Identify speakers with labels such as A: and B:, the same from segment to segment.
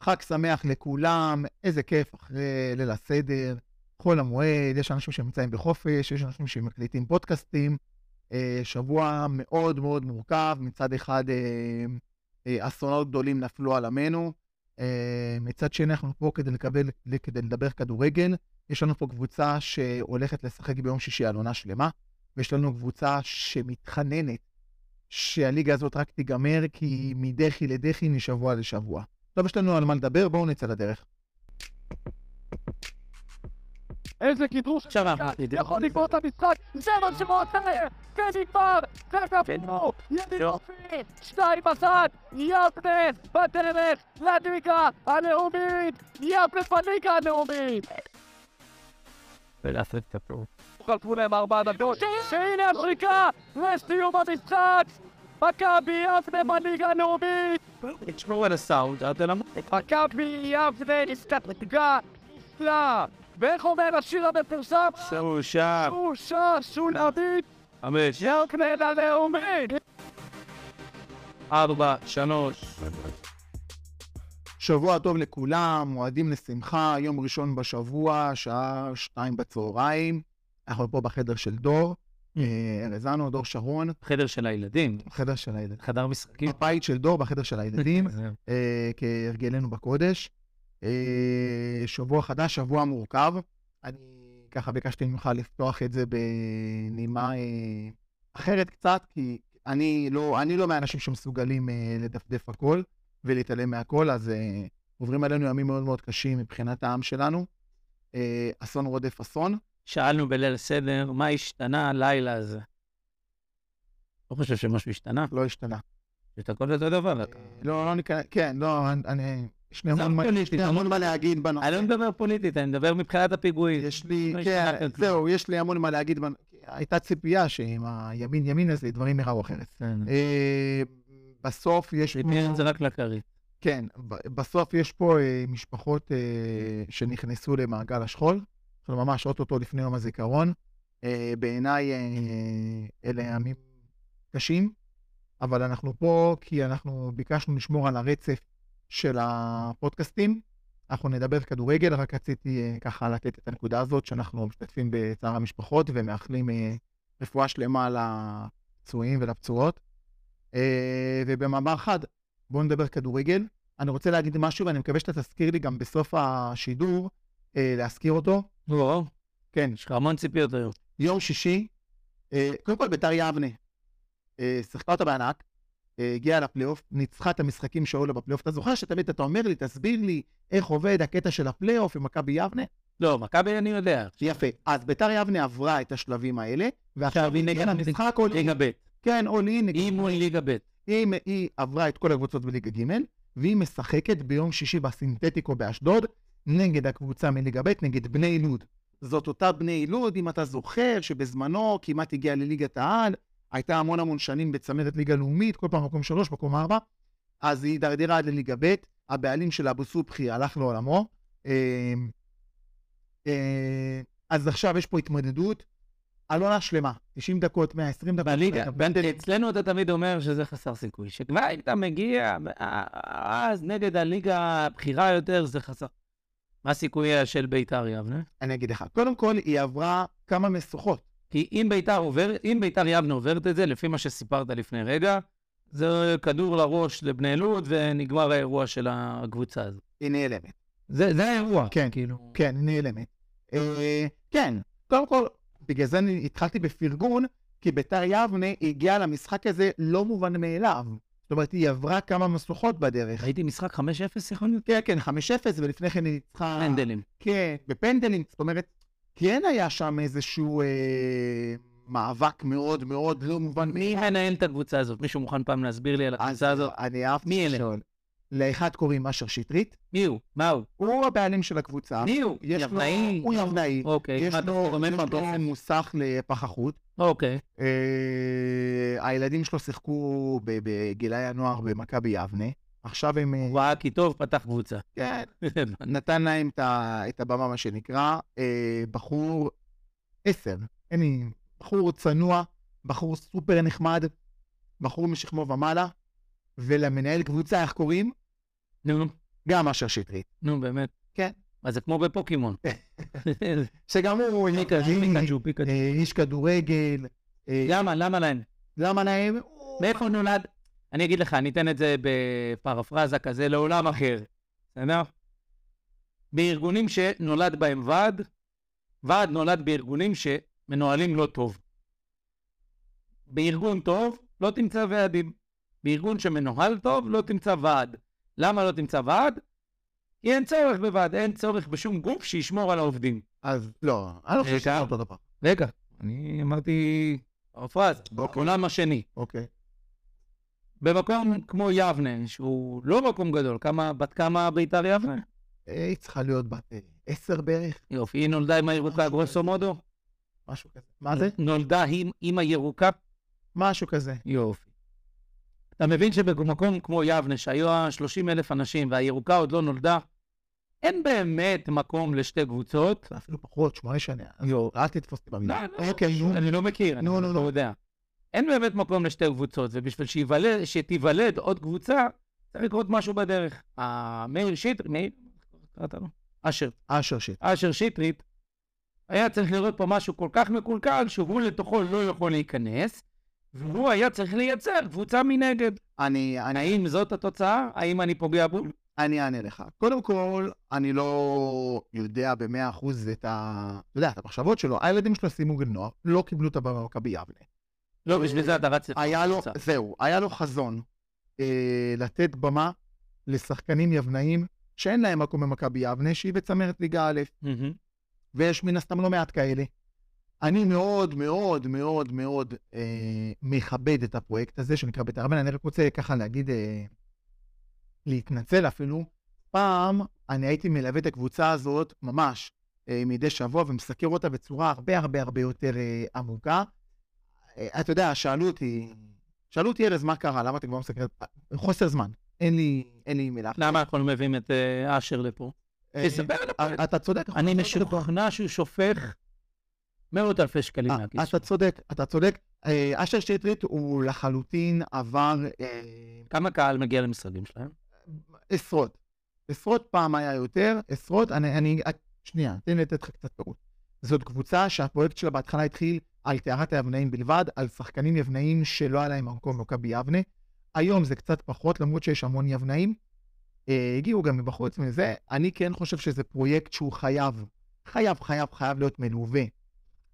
A: חג שמח לכולם, איזה כיף אחרי ליל הסדר, חול המועד, יש אנשים שנמצאים בחופש, יש אנשים שמקליטים פודקאסטים. אה, שבוע מאוד מאוד מורכב, מצד אחד אה, אה, אסונות גדולים נפלו על עמנו, אה, מצד שני אנחנו פה כדי, לקבל, כדי לדבר כדורגל. יש לנו פה קבוצה שהולכת לשחק ביום שישי על עונה שלמה, ויש לנו קבוצה שמתחננת שהליגה הזאת רק תיגמר, כי מדחי לדחי, משבוע לשבוע. טוב, יש לנו על מה לדבר, בואו נצא לדרך.
B: איזה קידוש!
C: עכשיו
B: כאן,
C: אמרתי,
B: יכול לגמור את המשחק! זה מה שרוצה! זה נגמר! זה גמור! ידי
C: לא.
B: רופין! שניים בצד! יפנס! בדרך! לליגה הלאומית! יפנס בליגה הלאומית!
C: ולעשות את הפעול.
B: חלפו להם ארבע דקות! שהנה השריקה! לסיום המשחק! מכבי יפנה בליגה הלאומית!
C: תשמעו על הסאונד, אתה לא מצליח.
B: מכבי יפנה הסתפקה! נפלא! ואיך אומר השיר המפורסם?
C: סרו שם.
B: בושה שולמית!
C: חמש,
B: ירקנן הלאומית!
C: ארבע, שלוש.
A: שבוע טוב לכולם, מועדים לשמחה, יום ראשון בשבוע, שעה שתיים בצהריים. אנחנו פה בחדר של דור, אה, ארז אנו, דור שרון,
C: חדר של הילדים,
A: בחדר של הילדים.
C: חדר משחקים.
A: בבית של דור, בחדר של הילדים, אה, כהרגלנו בקודש. אה, שבוע חדש, שבוע מורכב. אני ככה ביקשתי ממך לפתוח את זה בנימה אה, אחרת קצת, כי אני לא, אני לא מהאנשים שמסוגלים אה, לדפדף הכל ולהתעלם מהכל, אז אה, עוברים עלינו ימים מאוד מאוד קשים מבחינת העם שלנו. אה, אסון רודף אסון.
C: שאלנו בליל הסדר, מה השתנה הלילה הזה? לא חושב שמשהו השתנה,
A: לא השתנה.
C: זה הכל אותו דבר.
A: אה, לא, לא ניכנס, כן, לא, אני- אני... יש לי המון מה-
C: זרקו לי,
A: כן, יש לי המון מה להגיד בנושא.
C: אני לא מדבר פוליטית, אני מדבר מבחינת הפיגועים.
A: יש לי,
C: לא
A: כן,
C: השתנה כאן כלום.
A: זהו, יש לי המון מה להגיד. בנ- הייתה ציפייה שעם הימין ימין הזה דברים יראו אחרת. אה, בסוף יש פה,
C: ריפיירן זה רק לכרית.
A: כן, ב- בסוף יש פה אה, משפחות אה, שנכנסו למעגל השכול, אנחנו ממש אוטוטו לפני יום הזיכרון. אה, בעיניי אה, אלה ימים קשים, אבל אנחנו פה כי אנחנו ביקשנו לשמור על הרצף של הפודקאסטים. אנחנו נדבר כדורגל, רק רציתי אה, ככה לתת את הנקודה הזאת, שאנחנו משתתפים בצער המשפחות ומאחלים אה, רפואה שלמה לפצועים ולפצועות. אה, ובמאמר חד, בואו נדבר כדורגל. אני רוצה להגיד משהו, ואני מקווה שאתה תזכיר לי גם בסוף השידור, אה, להזכיר אותו.
C: נו,
A: כן,
C: יש לך המון ציפיות היום.
A: יום שישי, אה, קודם כל ביתר יבנה, אה, שיחקה אותה בענק, אה, הגיעה לפלייאוף, ניצחה את המשחקים שהיו לה בפלייאוף. אתה זוכר שתמיד אתה אומר לי, תסביר לי איך עובד הקטע של הפלייאוף עם מכבי יבנה?
C: לא, מכבי אני יודע.
A: יפה. אז ביתר יבנה עברה את השלבים האלה, ועכשיו
C: עכשיו
A: היא
C: היא
A: נגד
C: גם-
A: המשחק עוד...
C: ליגה ב'.
A: כן, אול אין.
C: היא מול ליגה ב'.
A: היא, היא עברה את כל הקבוצות בליגה ג' והיא משחקת ביום שישי בסינתטיקו באשדוד נגד הקבוצה מליגה ב', נגד בני לוד. זאת אותה בני לוד, אם אתה זוכר, שבזמנו כמעט הגיעה לליגת העל, הייתה המון המון שנים בצמרת ליגה לאומית, כל פעם מקום שלוש, מקום ארבע, אז היא הידרדרה עד לליגה ב', הבעלים של אבו סובחי הלך לעולמו. אה, אה, אז עכשיו יש פה התמודדות על עונה שלמה, 90 דקות, 120 דקות.
C: בליגה,
A: פנדלים.
C: אצלנו אתה תמיד אומר שזה חסר סיכוי, שכבר אם אתה מגיע, אה, אז נגד הליגה הבכירה יותר זה חסר. מה סיכוייה של ביתר יבנה?
A: אני אגיד לך. קודם כל, היא עברה כמה משוכות.
C: כי אם ביתר עובר, אם ביתר יבנה עוברת את זה, לפי מה שסיפרת לפני רגע, זה כדור לראש לבני לוד ונגמר האירוע של הקבוצה הזאת.
A: היא נעלמת.
C: זה, זה האירוע.
A: כן.
C: כאילו.
A: כן, היא נעלמת. אה, כן, קודם כל, בגלל זה אני התחלתי בפרגון, כי ביתר יבנה הגיעה למשחק הזה לא מובן מאליו. זאת אומרת, היא עברה כמה משוכות בדרך.
C: ראיתי משחק 5-0 יכול להיות?
A: כן, כן, 5-0, ולפני כן היא ניצחה...
C: פנדלים.
A: כן, בפנדלים. זאת אומרת, כן היה שם איזשהו אה, מאבק מאוד מאוד לא מובן
C: מי
A: מאליו.
C: מנהל את הקבוצה הזאת? מישהו מוכן פעם להסביר לי על
A: אז
C: הקבוצה הזאת?
A: אני אהבתי
C: מי אלה?
A: לשאול. לאחד קוראים אשר שטרית,
C: מי הוא? מה הוא?
A: הוא הבעלים של הקבוצה.
C: מי הוא?
A: אה. יש לו,
C: יבנאי?
A: הוא יבנאי,
C: אוקיי.
A: יש
C: מה, אתה
A: לו
C: אומר
A: יש לו
C: מבט?
A: מוסך לפחחות,
C: אוקיי.
A: אה, הילדים שלו שיחקו ב- בגילי הנוער במכבי יבנה, עכשיו הם, אה,
C: הוא ראה כי טוב, פתח קבוצה.
A: כן, נתן להם את ה- את הבמה, מה שנקרא, אה, בחור עשר, אין לי, בחור צנוע, בחור סופר נחמד, בחור משכמו ומעלה, ולמנהל קבוצה, איך קוראים?
C: נו,
A: גם אשר שטרית.
C: נו, באמת.
A: כן.
C: אז זה כמו בפוקימון.
A: שגם הוא
C: פיקאג'ו, פיקאג'ו, פיקאג'ו.
A: אה, איש כדורגל. אה,
C: למה? למה להם?
A: למה להם?
C: מאיפה נולד? אני אגיד לך, אני אתן את זה בפרפרזה כזה לעולם אחר. בסדר? בארגונים שנולד בהם ועד, ועד נולד בארגונים שמנוהלים לא טוב. בארגון טוב לא תמצא ועדים. בארגון שמנוהל טוב לא תמצא ועד. למה לא תמצא ועד? כי אין צורך בוועד, אין צורך בשום גוף שישמור על העובדים.
A: אז לא, אני לא חושב שזה
C: רגע.
A: אותו דבר.
C: רגע, אני אמרתי... אוקיי. פרפרז, בעולם השני.
A: אוקיי.
C: במקום כמו יבנה, שהוא לא מקום גדול, כמה, בת כמה ביתר יבנה?
A: אה, היא צריכה להיות בת אה, עשר בערך,
C: יופי, היא נולדה עם הירוקה, גרוסו מודו?
A: משהו כזה. לא. מה
C: Mm.
A: זה?
C: נולדה עם, עם הירוקה?
A: משהו כזה.
C: יופי. אתה מבין שבמקום כמו יבנה, שהיו 30 אלף אנשים והירוקה עוד לא נולדה, אין באמת מקום לשתי קבוצות.
A: זה אפילו פחות, שמונה שנה. אז
C: יו.
A: אל תתפוס אותי במילה.
C: לא, לא.
A: אוקיי, נו.
C: אני לא מכיר, אני
A: נו, נו,
C: לא
A: נו.
C: יודע. אין באמת מקום לשתי קבוצות, ובשביל שיוולד, שתיוולד עוד קבוצה, צריך לקרות משהו בדרך. אה, מאיר שטרית, מאיר, איך קראת לו? אשר.
A: אשר שטרית.
C: אשר שטרית, היה צריך לראות פה משהו כל כך מקולקל, שהוא לתוכו לא יכול להיכנס, והוא היה צריך לייצר קבוצה מנגד.
A: אני, אני,
C: האם זאת התוצאה? האם אני פוגע בו?
A: אני אענה לך. קודם כל, אני לא יודע במאה אחוז את ה... אתה יודע, את המחשבות שלו. הילדים שלו סיימו גיל נוער, לא קיבלו את הבמה במכבי יבנה.
C: לא, בשביל זה אתה רץ
A: היה לו,
C: לקבוצה.
A: זהו, היה לו חזון אה, לתת במה לשחקנים יבנאים שאין להם מקום במכבי יבנה, שהיא בצמרת ליגה א',
C: מהמם.
A: ויש מן הסתם לא מעט כאלה. אני מאוד מאוד מאוד מאוד אה, מכבד את הפרויקט הזה שנקרא בית"ר יבנה, אני רק רוצה ככה להגיד, אה, להתנצל אפילו. פעם אני הייתי מלווה את הקבוצה הזאת ממש אה, מדי שבוע ומסקר אותה בצורה הרבה הרבה הרבה יותר אה, עמוקה. אה, אתה יודע, שאלו אותי, שאלו אותי ארז מה קרה, למה אתה כבר מסקר? חוסר זמן, אין לי, אין לי מילה. אחרת.
C: למה אנחנו לא מביאים את אה, אשר לפה?
A: אה,
C: תספר על הפרויקט.
A: אתה צודק.
C: אני
A: חוסר
C: משוכנע שהוא שופך מאות אלפי שקלים
A: אה,
C: מהכיס.
A: אתה צודק, אתה צודק. אה, אשר שטרית הוא לחלוטין עבר אה,
C: כמה קהל מגיע למשרדים שלהם?
A: עשרות. עשרות פעם היה יותר, עשרות, אני, אני, אה, שנייה, תן לי לתת לך קצת פירוט. זאת קבוצה שהפרויקט שלה בהתחלה התחיל על טהרת היבנאים בלבד, על שחקנים יבנאים שלא היה להם מקום במכבי יבנה. היום זה קצת פחות, למרות שיש המון יבנאים. אה, הגיעו גם מבחוץ מזה. אני כן חושב שזה פרויקט שהוא חייב, חייב, חייב, חייב להיות מלווה.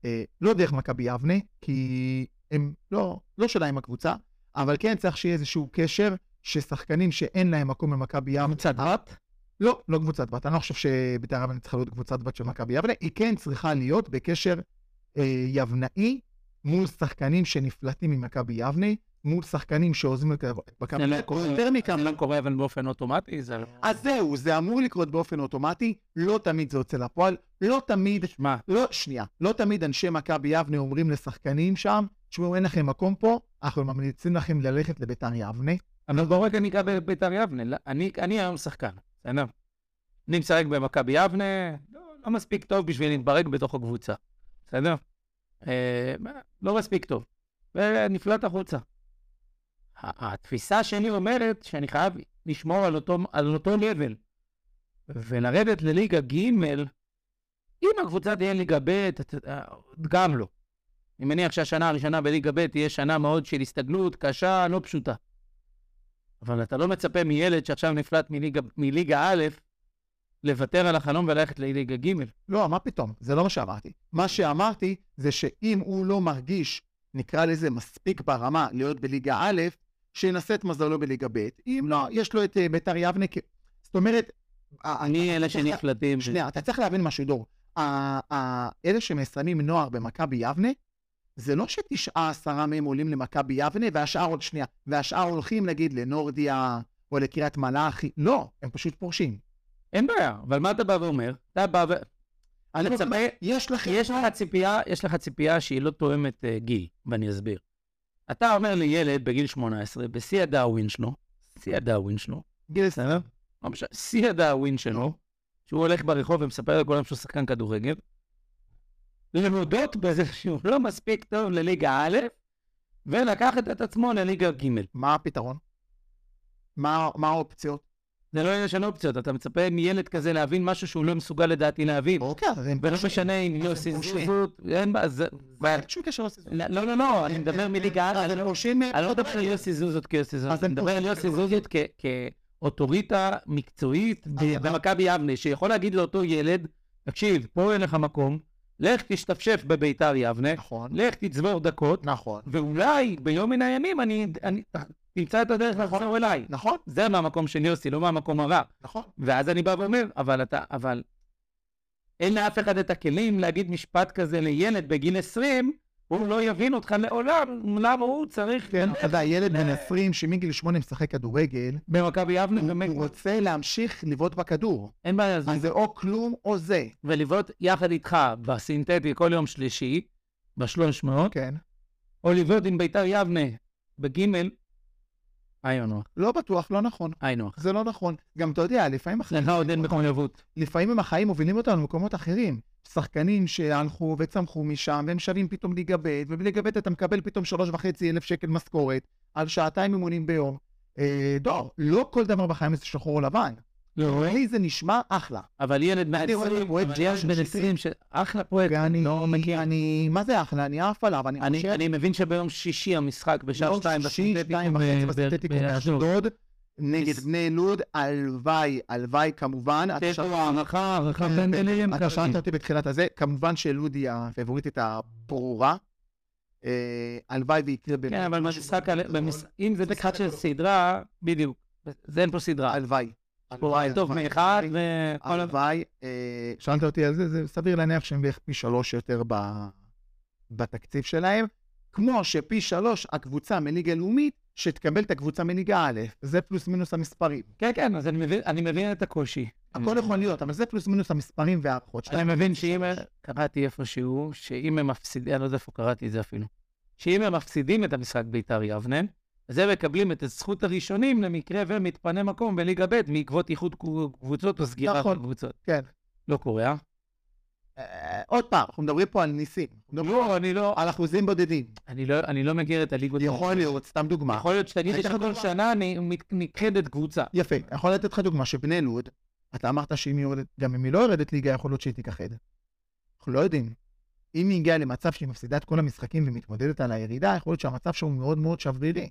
A: אה, לא דרך מכבי יבנה, כי הם לא, לא שלה עם הקבוצה, אבל כן צריך שיהיה איזשהו קשר ששחקנים שאין להם מקום במכבי יבנה...
C: קבוצת בת?
A: לא, לא קבוצת בת. אני לא חושב שבית"ר יבנה צריכה להיות קבוצת בת של מכבי יבנה. היא כן צריכה להיות בקשר אה, יבנאי מול שחקנים שנפלטים ממכבי יבנה, מול שחקנים שעוזבים את מכבי
C: זה
A: יבנה.
C: לא קורה.
A: יותר מכך,
C: זה לא קורה אבל באופן אוטומטי, זה...
A: אז זהו, זה אמור לקרות באופן אוטומטי, לא תמיד זה יוצא לפועל, לא תמיד,
C: שמע,
A: לא, שנייה, לא תמיד אנשי מכבי יבנה אומרים לשחקנים שם, תשמעו, אין לכם מקום פה, אנחנו ממליצים לכם ללכת לביתר יבנה.
C: אבל בואו רגע ניגע בביתר יבנה. לא- אני, אני היום שחקן, בסדר? אני משחק במכבי יבנה, לא, לא מספיק טוב בשביל להתברג בתוך הקבוצה, בסדר? אה, לא מספיק טוב. ונפלט החוצה. ה- התפיסה שלי אומרת שאני חייב לשמור על אותו, על אותו level. ולרדת לליגה ג', אם הקבוצה תהיה ליגה ב', אתה- אה, גם לא. אני מניח שהשנה הראשונה בליגה ב' תהיה שנה מאוד של הסתגלות קשה, לא פשוטה. אבל אתה לא מצפה מילד שעכשיו נפלט מליגה, מליגה א', לוותר על החלום וללכת לליגה ג'.
A: לא, מה פתאום? זה לא מה שאמרתי. מה שאמרתי זה שאם הוא לא מרגיש, נקרא לזה, מספיק ברמה להיות בליגה א', שינסה את מזלו בליגה ב', אם לא, יש לו את אה, ביתר יבנה. כ- זאת אומרת, ה-
C: אה, אני אלה שנפלטים.
A: שנייה, אתה צריך להבין משהו, דור. ה- ה- אלה שמסיימים נוער במכבי יבנה, זה לא שתשעה עשרה מהם עולים למכבי יבנה, והשאר עוד שנייה, והשאר הולכים נגיד לנורדיה או לקריית מלאכי, לא, הם פשוט פורשים.
C: אין בעיה, אבל מה אתה בא ואומר? אתה בא ו... אני מצפה,
A: יש לכם...
C: יש לך ציפייה, יש לך ציפייה שהיא לא תואמת אה, גיל, ואני אסביר. אתה אומר לי ילד בגיל 18, בשיא הדאווין שלו, שיא הדאווין שלו,
A: גיל
C: בסדר? לא משנה, שיא הדאווין שלו, שהוא הולך ברחוב ומספר לכולם שהוא שחקן כדורגל, להודות בזה שהוא לא מספיק טוב לליגה א', ולקחת את עצמו לליגה ג'.
A: מה הפתרון? מה, מה האופציות?
C: זה לא עניין של אופציות, אתה מצפה מילד כזה להבין משהו שהוא לא מסוגל לדעתי להבין.
A: אוקיי, אז הם
C: ולא משנה אם
A: הם
C: יוסי
A: פושעים.
C: זוזות, אין בעיה, זה... בעיה.
A: אין שום קשר לסיזון.
C: לא, לא, לא, אני מדבר מליגה א',
A: אז הם פורשים...
C: אני לא מדבר על יוסי זוזות כיוסי זוזות,
A: אז
C: אני
A: הם
C: מדבר על
A: פושעים.
C: יוסי זוזות כ- כאוטוריטה מקצועית ב-
A: אז-
C: במכבי יבנה, שיכול להגיד לאותו ילד, תקשיב, פה אין לך מקום, לך תשתפשף בביתר יבנה,
A: נכון.
C: לך תצבור דקות,
A: נכון.
C: ואולי ביום מן הימים אני אני- תמצא את הדרך לחזור אליי.
A: נכון,
C: זה מהמקום של יוסי, לא מהמקום הרע.
A: נכון.
C: ואז אני בא ואומר, אבל אתה, אבל... אין לאף אחד את הכלים להגיד משפט כזה לילד בגיל 20, הוא לא יבין אותך לעולם, למה הוא צריך...
A: כן, אתה יודע, ילד בן 20 שמגיל 8 משחק כדורגל,
C: במכבי יבנה,
A: הוא
C: באמת,
A: הוא רוצה להמשיך לבעוט בכדור.
C: אין בעיה, אז-
A: אז זה או כלום או זה.
C: ולבעוט יחד איתך בסינתטי כל יום שלישי, בשלוש מאות,
A: כן.
C: או לבעוט עם ביתר יבנה בגימל, איי נוח,
A: לא בטוח, לא נכון.
C: איי נוח.
A: זה לא נכון. גם אתה יודע, לפעמים החיים,
C: לך עוד אין מחויבות.
A: לפעמים הם החיים מובילים אותנו למקומות אחרים. שחקנים שהלכו וצמחו משם, והם שווים פתאום ליגה ב', ובליגה ב' אתה מקבל פתאום שלוש וחצי אלף שקל משכורת, על שעתיים אימונים ביום. אה, דור, לא כל דבר בחיים זה שחור או לבן. לי זה נשמע אחלה.
C: אבל ילד בן
A: אני רואה
C: 20,
A: פרויקט
C: אבל ילד
A: של
C: בן
A: שיטים.
C: 20, ש- אחלה פרויקט,
A: ואני, אני, מה זה אחלה? אני עף עליו, לא אני
C: אני,
A: חושב...
C: אני מבין שביום שישי המשחק בשעה
A: יום
C: שתיים
A: שישי,
C: בסינתטיקו
A: לא, שתיים
C: ב-
A: וחצי
C: ב-
A: בסינתטיקו
C: באשדוד.
A: באשדוד, נגד
C: מס-
A: בני לוד, הלוואי, הלוואי כמובן. אתה
C: יש
A: שאלת-
C: לו הערכה, הערכה
A: כן,
C: פנדלים.
A: אתה שאלת אותי בתחילת הזה, כמובן שלוד היא הפבוריטית הברורה. אה, הלוואי ויקרה באמת.
C: כן, אבל
A: משהו
C: במשחק,
A: גדול.
C: על- במש- אם זה משחק של סדרה, בדיוק. זה אין פה סדרה.
A: הלוואי.
C: פה
A: הלוואי,
C: טוב
A: הלוואי,
C: מאחד
A: הלוואי.
C: וכל ה...
A: הלוואי, אה, שאלת אותי על זה, זה סביר להניח שהם בערך פי שלוש יותר ב- בתקציב שלהם, כמו שפי שלוש הקבוצה מליגה לאומית, שתקבל את הקבוצה מליגה א', זה פלוס מינוס המספרים.
C: כן, כן, אז אני מבין- אני מבין את הקושי. נכון.
A: הכל יכול להיות, אבל זה פלוס מינוס המספרים והערכות.
C: Mm. אני מבין שאם... קראתי איפשהו, שאם הם מפסידים, אני לא יודע איפה קראתי את זה אפילו, שאם הם מפסידים את המשחק בית"ר יבנה, אז הם מקבלים את הזכות הראשונים למקרה ומתפנה מקום בליגה ב' בעקבות איחוד קו- קבוצות או סגירה של
A: נכון.
C: קבוצות.
A: כן.
C: לא קורה, אה?
A: אה, עוד פעם, אנחנו מדברים פה על ניסים. אנחנו מדברים
C: לא, אני לא...
A: על אחוזים בודדים.
C: אני לא, אני לא מכיר את הליגות.
A: יכול להיות, סתם דוגמה.
C: יכול להיות שתגיד
A: אני אתן
C: לי
A: לך
C: שכל
A: דוגמה.
C: שנה אני מת- נכחדת קבוצה.
A: יפה, אני יכול לתת לך דוגמה שבני לוד, אתה אמרת שאם היא יורדת, גם אם היא לא יורדת ליגה, יכול להיות שהיא תיכחד. אנחנו לא יודעים. אם היא הגיעה למצב שהיא מפסידה את כל המשחקים ומתמודדת על הירידה, יכול להיות שהמצב שם הוא מאוד מאוד שברירי.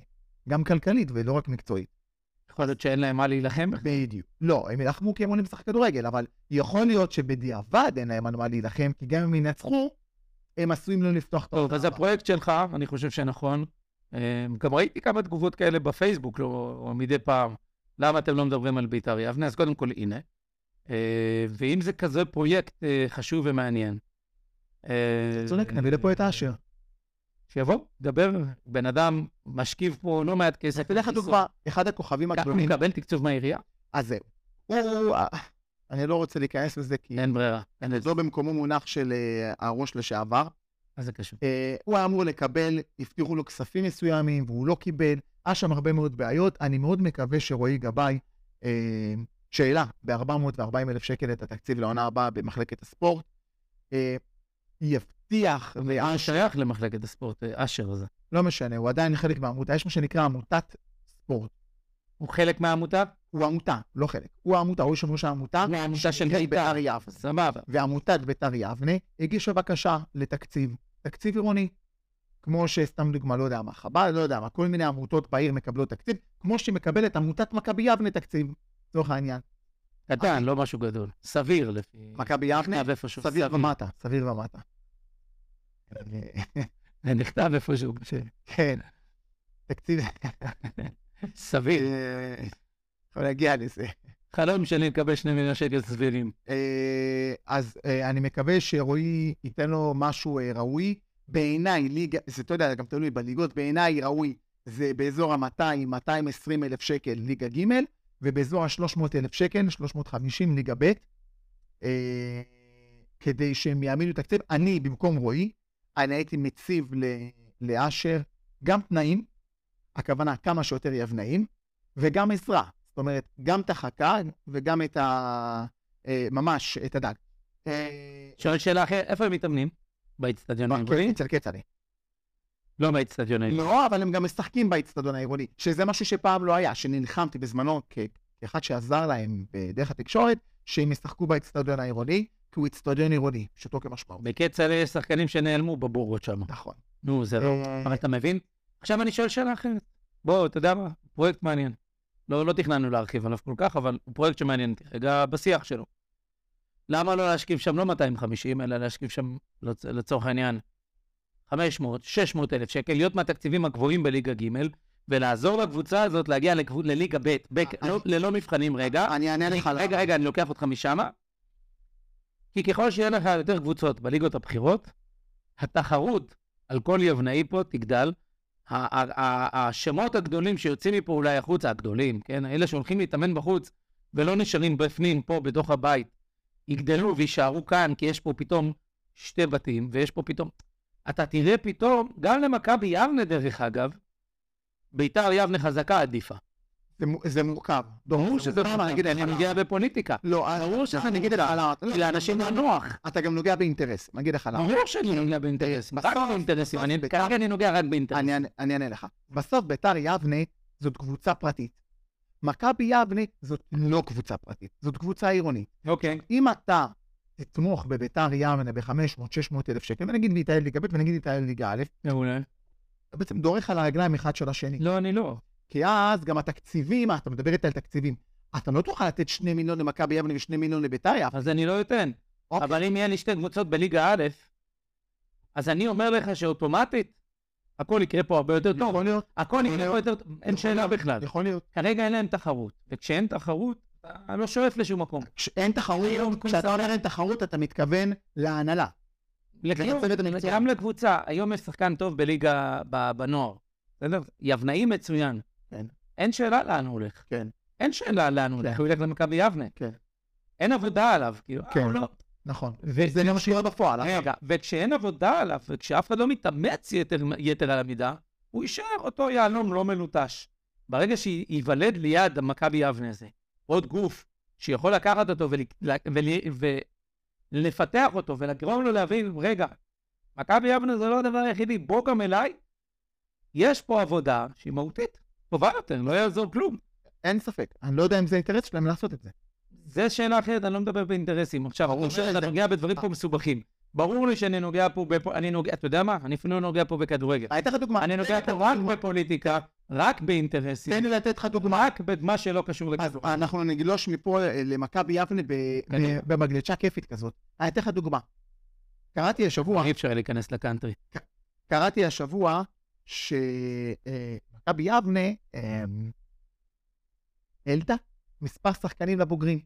A: גם כלכלית ולא רק מקצועית.
C: יכול להיות שאין להם מה להילחם.
A: בדיוק. לא, הם ילחמו כי הם עולים לשחק כדורגל, אבל יכול להיות שבדיעבד אין להם על מה להילחם, כי גם אם ינצחו, הם עשויים לא לפתוח את
C: טוב, אז
A: הבאה.
C: הפרויקט שלך, אני חושב שנכון. אה, גם ראיתי כמה תגובות כאלה בפייסבוק, לא, או מדי פעם. למה אתם לא מדברים על בית"ר יבנה? אז קודם כל, הנה. אה, ואם זה כזה פרויקט אה, חשוב ומעניין. אה,
A: צודק, נביא לפה את אשר.
C: שיבוא, דבר, בן אדם משכיב פה לא מעט כסף.
A: אתן לך דוגמה, אחד הכוכבים
C: ככה הוא
A: הגדולים,
C: מקבל תקצוב מהעירייה?
A: אז זהו. הוא- אה, אני לא רוצה להיכנס לזה, כי
C: אין ברירה. אין לזה.
A: לא במקומו מונח של אה, הראש לשעבר.
C: מה זה קשור?
A: אה, הוא היה אמור לקבל, הבטיחו לו כספים מסוימים, והוא לא קיבל. היה שם הרבה מאוד בעיות. אני מאוד מקווה שרועי גבאי, אה, שאלה, ב-440 אלף שקל את התקציב לעונה הבאה במחלקת הספורט, אה, יבטיח
C: אה,
A: לאשר,
C: שייך למחלקת הספורט, אה, אשר הזה.
A: לא משנה, הוא עדיין חלק מהעמותה, יש מה שנקרא עמותת ספורט.
C: הוא חלק מהעמותה?
A: הוא עמותה, לא חלק. הוא העמותה, הוא יושב ראש העמותה.
C: מהעמותה של
A: שנקראת
C: בית"ר.
A: בית"ר יבנה.
C: סבבה.
A: ועמותת ביתר יבנה הגישה בקשה לתקציב, תקציב עירוני. כמו שסתם דוגמה, לא יודע מה, חב"ד, לא יודע מה, כל מיני עמותות בעיר מקבלות תקציב, כמו שמקבלת עמותת מכבי יבנה תקציב, לצורך העניין.
C: קטן, לא משהו גדול. סביר לפי...
A: מכבי יבנה,
C: נכתב איפשהו.
A: סביר ומטה, סביר ומטה.
C: זה אה, נכתב איפשהו.
A: כן, תקציב,
C: סביר.
A: כן. אה, יכול להגיע לזה.
C: חלום שלי לקבל שני מיליון שקל סבירים.
A: אה, אז אה, אני מקווה שרועי ייתן לו משהו אה, ראוי. בעיניי, ליגה, זה, אתה יודע, גם תלוי בליגות, בעיניי ראוי זה באזור ה-200-220 אלף שקל ליגה ג', ובאזור ה-300 אלף שקל, 350 ליגה ב', אה, כדי שהם יעמידו תקציב. אני, במקום רועי, אני הייתי מציב ל- לאשר גם תנאים, הכוונה כמה שיותר יבנאים, וגם עזרה. זאת אומרת, גם את החכה וגם את ה... אה, ממש, את הדג. אה,
C: שואל שאלה אחרת, איפה הם מתאמנים? באיצטדיון
A: לא,
C: העברי?
A: אצל כצל'ה.
C: לא באיצטדיון העברי.
A: לא, אבל הם גם משחקים באצטדיון העירוני, שזה משהו שפעם לא היה, שנלחמתי בזמנו כ- אחד שעזר להם בדרך התקשורת, שהם ישחקו באצטדיון העירוני, כי הוא אצטדיון עירוני, פשוטו כמשמעו.
C: בקצלה יש שחקנים שנעלמו בבורות שם.
A: נכון.
C: נו, זה לא... אבל אתה מבין? עכשיו אני שואל שאלה אחרת. בוא, אתה יודע מה? פרויקט מעניין. לא, לא תכננו להרחיב עליו כל כך, אבל הוא פרויקט שמעניין אותי רגע בשיח שלו. למה לא להשכיב שם לא 250, אלא להשכיב שם, לצ- לצורך העניין, 500, 600 אלף שקל, להיות מהתקציבים הגבוהים בליגה ג' ולעזור לקבוצה הזאת להגיע לקבוצ... לליגה ב', בק...
D: אני-
C: לא, ללא מבחנים רגע.
D: אני אענה לך. למה.
C: רגע, רגע, אני לוקח אותך משם. כי ככל שיהיה לך יותר קבוצות בליגות הבכירות, התחרות על כל יבנאי פה תגדל. ה- ה- ה- השמות הגדולים שיוצאים מפה אולי החוצה, הגדולים, כן? אלה שהולכים להתאמן בחוץ ולא נשארים בפנים, פה, בתוך הבית, יגדלו ויישארו כאן, כי יש פה פתאום שתי בתים, ויש פה פתאום... אתה תראה פתאום, גם למכבי יבנה, דרך אגב, ביתר יבנה חזקה עדיפה.
A: זה מו- זה מורכב.
C: ברור שזה... נגיד, אני מגיע בפוליטיקה.
A: לא, ברור
D: שזה נגד ההלאה.
C: כי לאנשים לא נוח.
A: אתה גם נוגע באינטרס, אני אגיד לך למה.
C: ברור שאני נוגע באינטרסים, רק
A: בסוף-
C: באינטרסים,
A: בסוף
C: אני-
A: בית"ר-
C: כרגע אני נוגע רק באינטרסים.
A: אני אענה- אני אענה לך. בסוף ביתר יבנה זאת קבוצה פרטית. מכבי יבנה זאת לא קבוצה פרטית, זאת קבוצה עירונית.
C: אוקיי.
A: אם אתה תתמוך בביתר יבנה ב-500-600 אלף שקל, ונגיד להתעלל ליגה ב' ונגיד להתעלל ליגה א',
C: מעולה.
A: אתה בעצם דורך על הרגליים אחד של השני.
C: לא, אני לא.
A: כי אז גם התקציבים, אתה מדבר איתה על תקציבים. אתה לא תוכל לתת 2 מיליון למכבי יבנה ו-2 מיליון לביתר יבנה.
C: אז אני לא אתן.
A: אוקיי.
C: אבל אם יהיה לי שתי קבוצות בליגה א', אז אני אומר לך שאוטומטית, הכל יקרה פה הרבה יותר טוב.
A: אוקיי, יכול להיות,
C: הכל יקרה
A: נכון.
C: פה יותר טוב, אין שאלה בכלל.
A: יכול להיות.
C: כרגע אין להם תחרות, וכשאין תחרות, אתה לא שואף לשום מקום.
A: כשאין תחרות, כשאתה אומר אין תחרות, אתה מתכוון להנהלה.
C: לכלום.
A: לנצל את המקצוע.
C: גם לקבוצה, היום יש שחקן טוב בליגה, ב- בנוער. בסדר? יבנאי מצוין.
A: כן.
C: אין שאלה לאן הוא הולך.
A: כן.
C: אין שאלה לאן הוא הולך, הוא ילך למכבי יבנה.
A: כן.
C: אין עבודה עליו, כאילו.
A: כן.
C: אה, הוא לא-
A: נכון. וזה גם מה שקורה בפועל. אה?
C: רגע, וכשאין עבודה עליו, וכשאף אחד לא מתאמץ יתר, יתר על המידה, הוא יישאר אותו יהלום לא מלוטש. ברגע שייוולד ליד המכבי יבנה הזה, עוד גוף שיכול לקחת אותו ולפתח ול, ול, ולפתח אותו ולגרום לו להבין, רגע, מכבי יבנה זה לא הדבר היחידי, בוא גם אליי, יש פה עבודה שהיא מהותית, טובה יותר, לא יעזור כלום.
A: אין ספק. אני לא יודע אם זה אינטרס שלהם לעשות את זה.
C: זה שאלה אחרת, אני לא מדבר באינטרסים. עכשיו,
A: ברור
C: ברור
A: שזה-
C: שאתה נוגע בדברים
A: אה.
C: פה מסובכים. ברור לי שאני נוגע פה, בפ... אני נוגע, אתה יודע מה? אני אפילו לא נוגע פה בכדורגל.
A: אני אתן לך דוגמה.
C: אני נוגע פה רק בפוליטיקה, רק באינטרסים,
A: תן לי לתת לך דוגמה.
C: רק במה שלא
A: אז
C: קשור לכדורגל.
A: אנחנו נגלוש מפה אה, למכבי יבנה ב-
C: קדימה.
A: ב- במגלשה כיפית כזאת. אני אתן לך דוגמה. קראתי השבוע,
C: אי אפשר להיכנס לקאנטרי.
A: קראתי השבוע שמכבי יבנה אה, העלתה מספר שחקנים לבוגרים.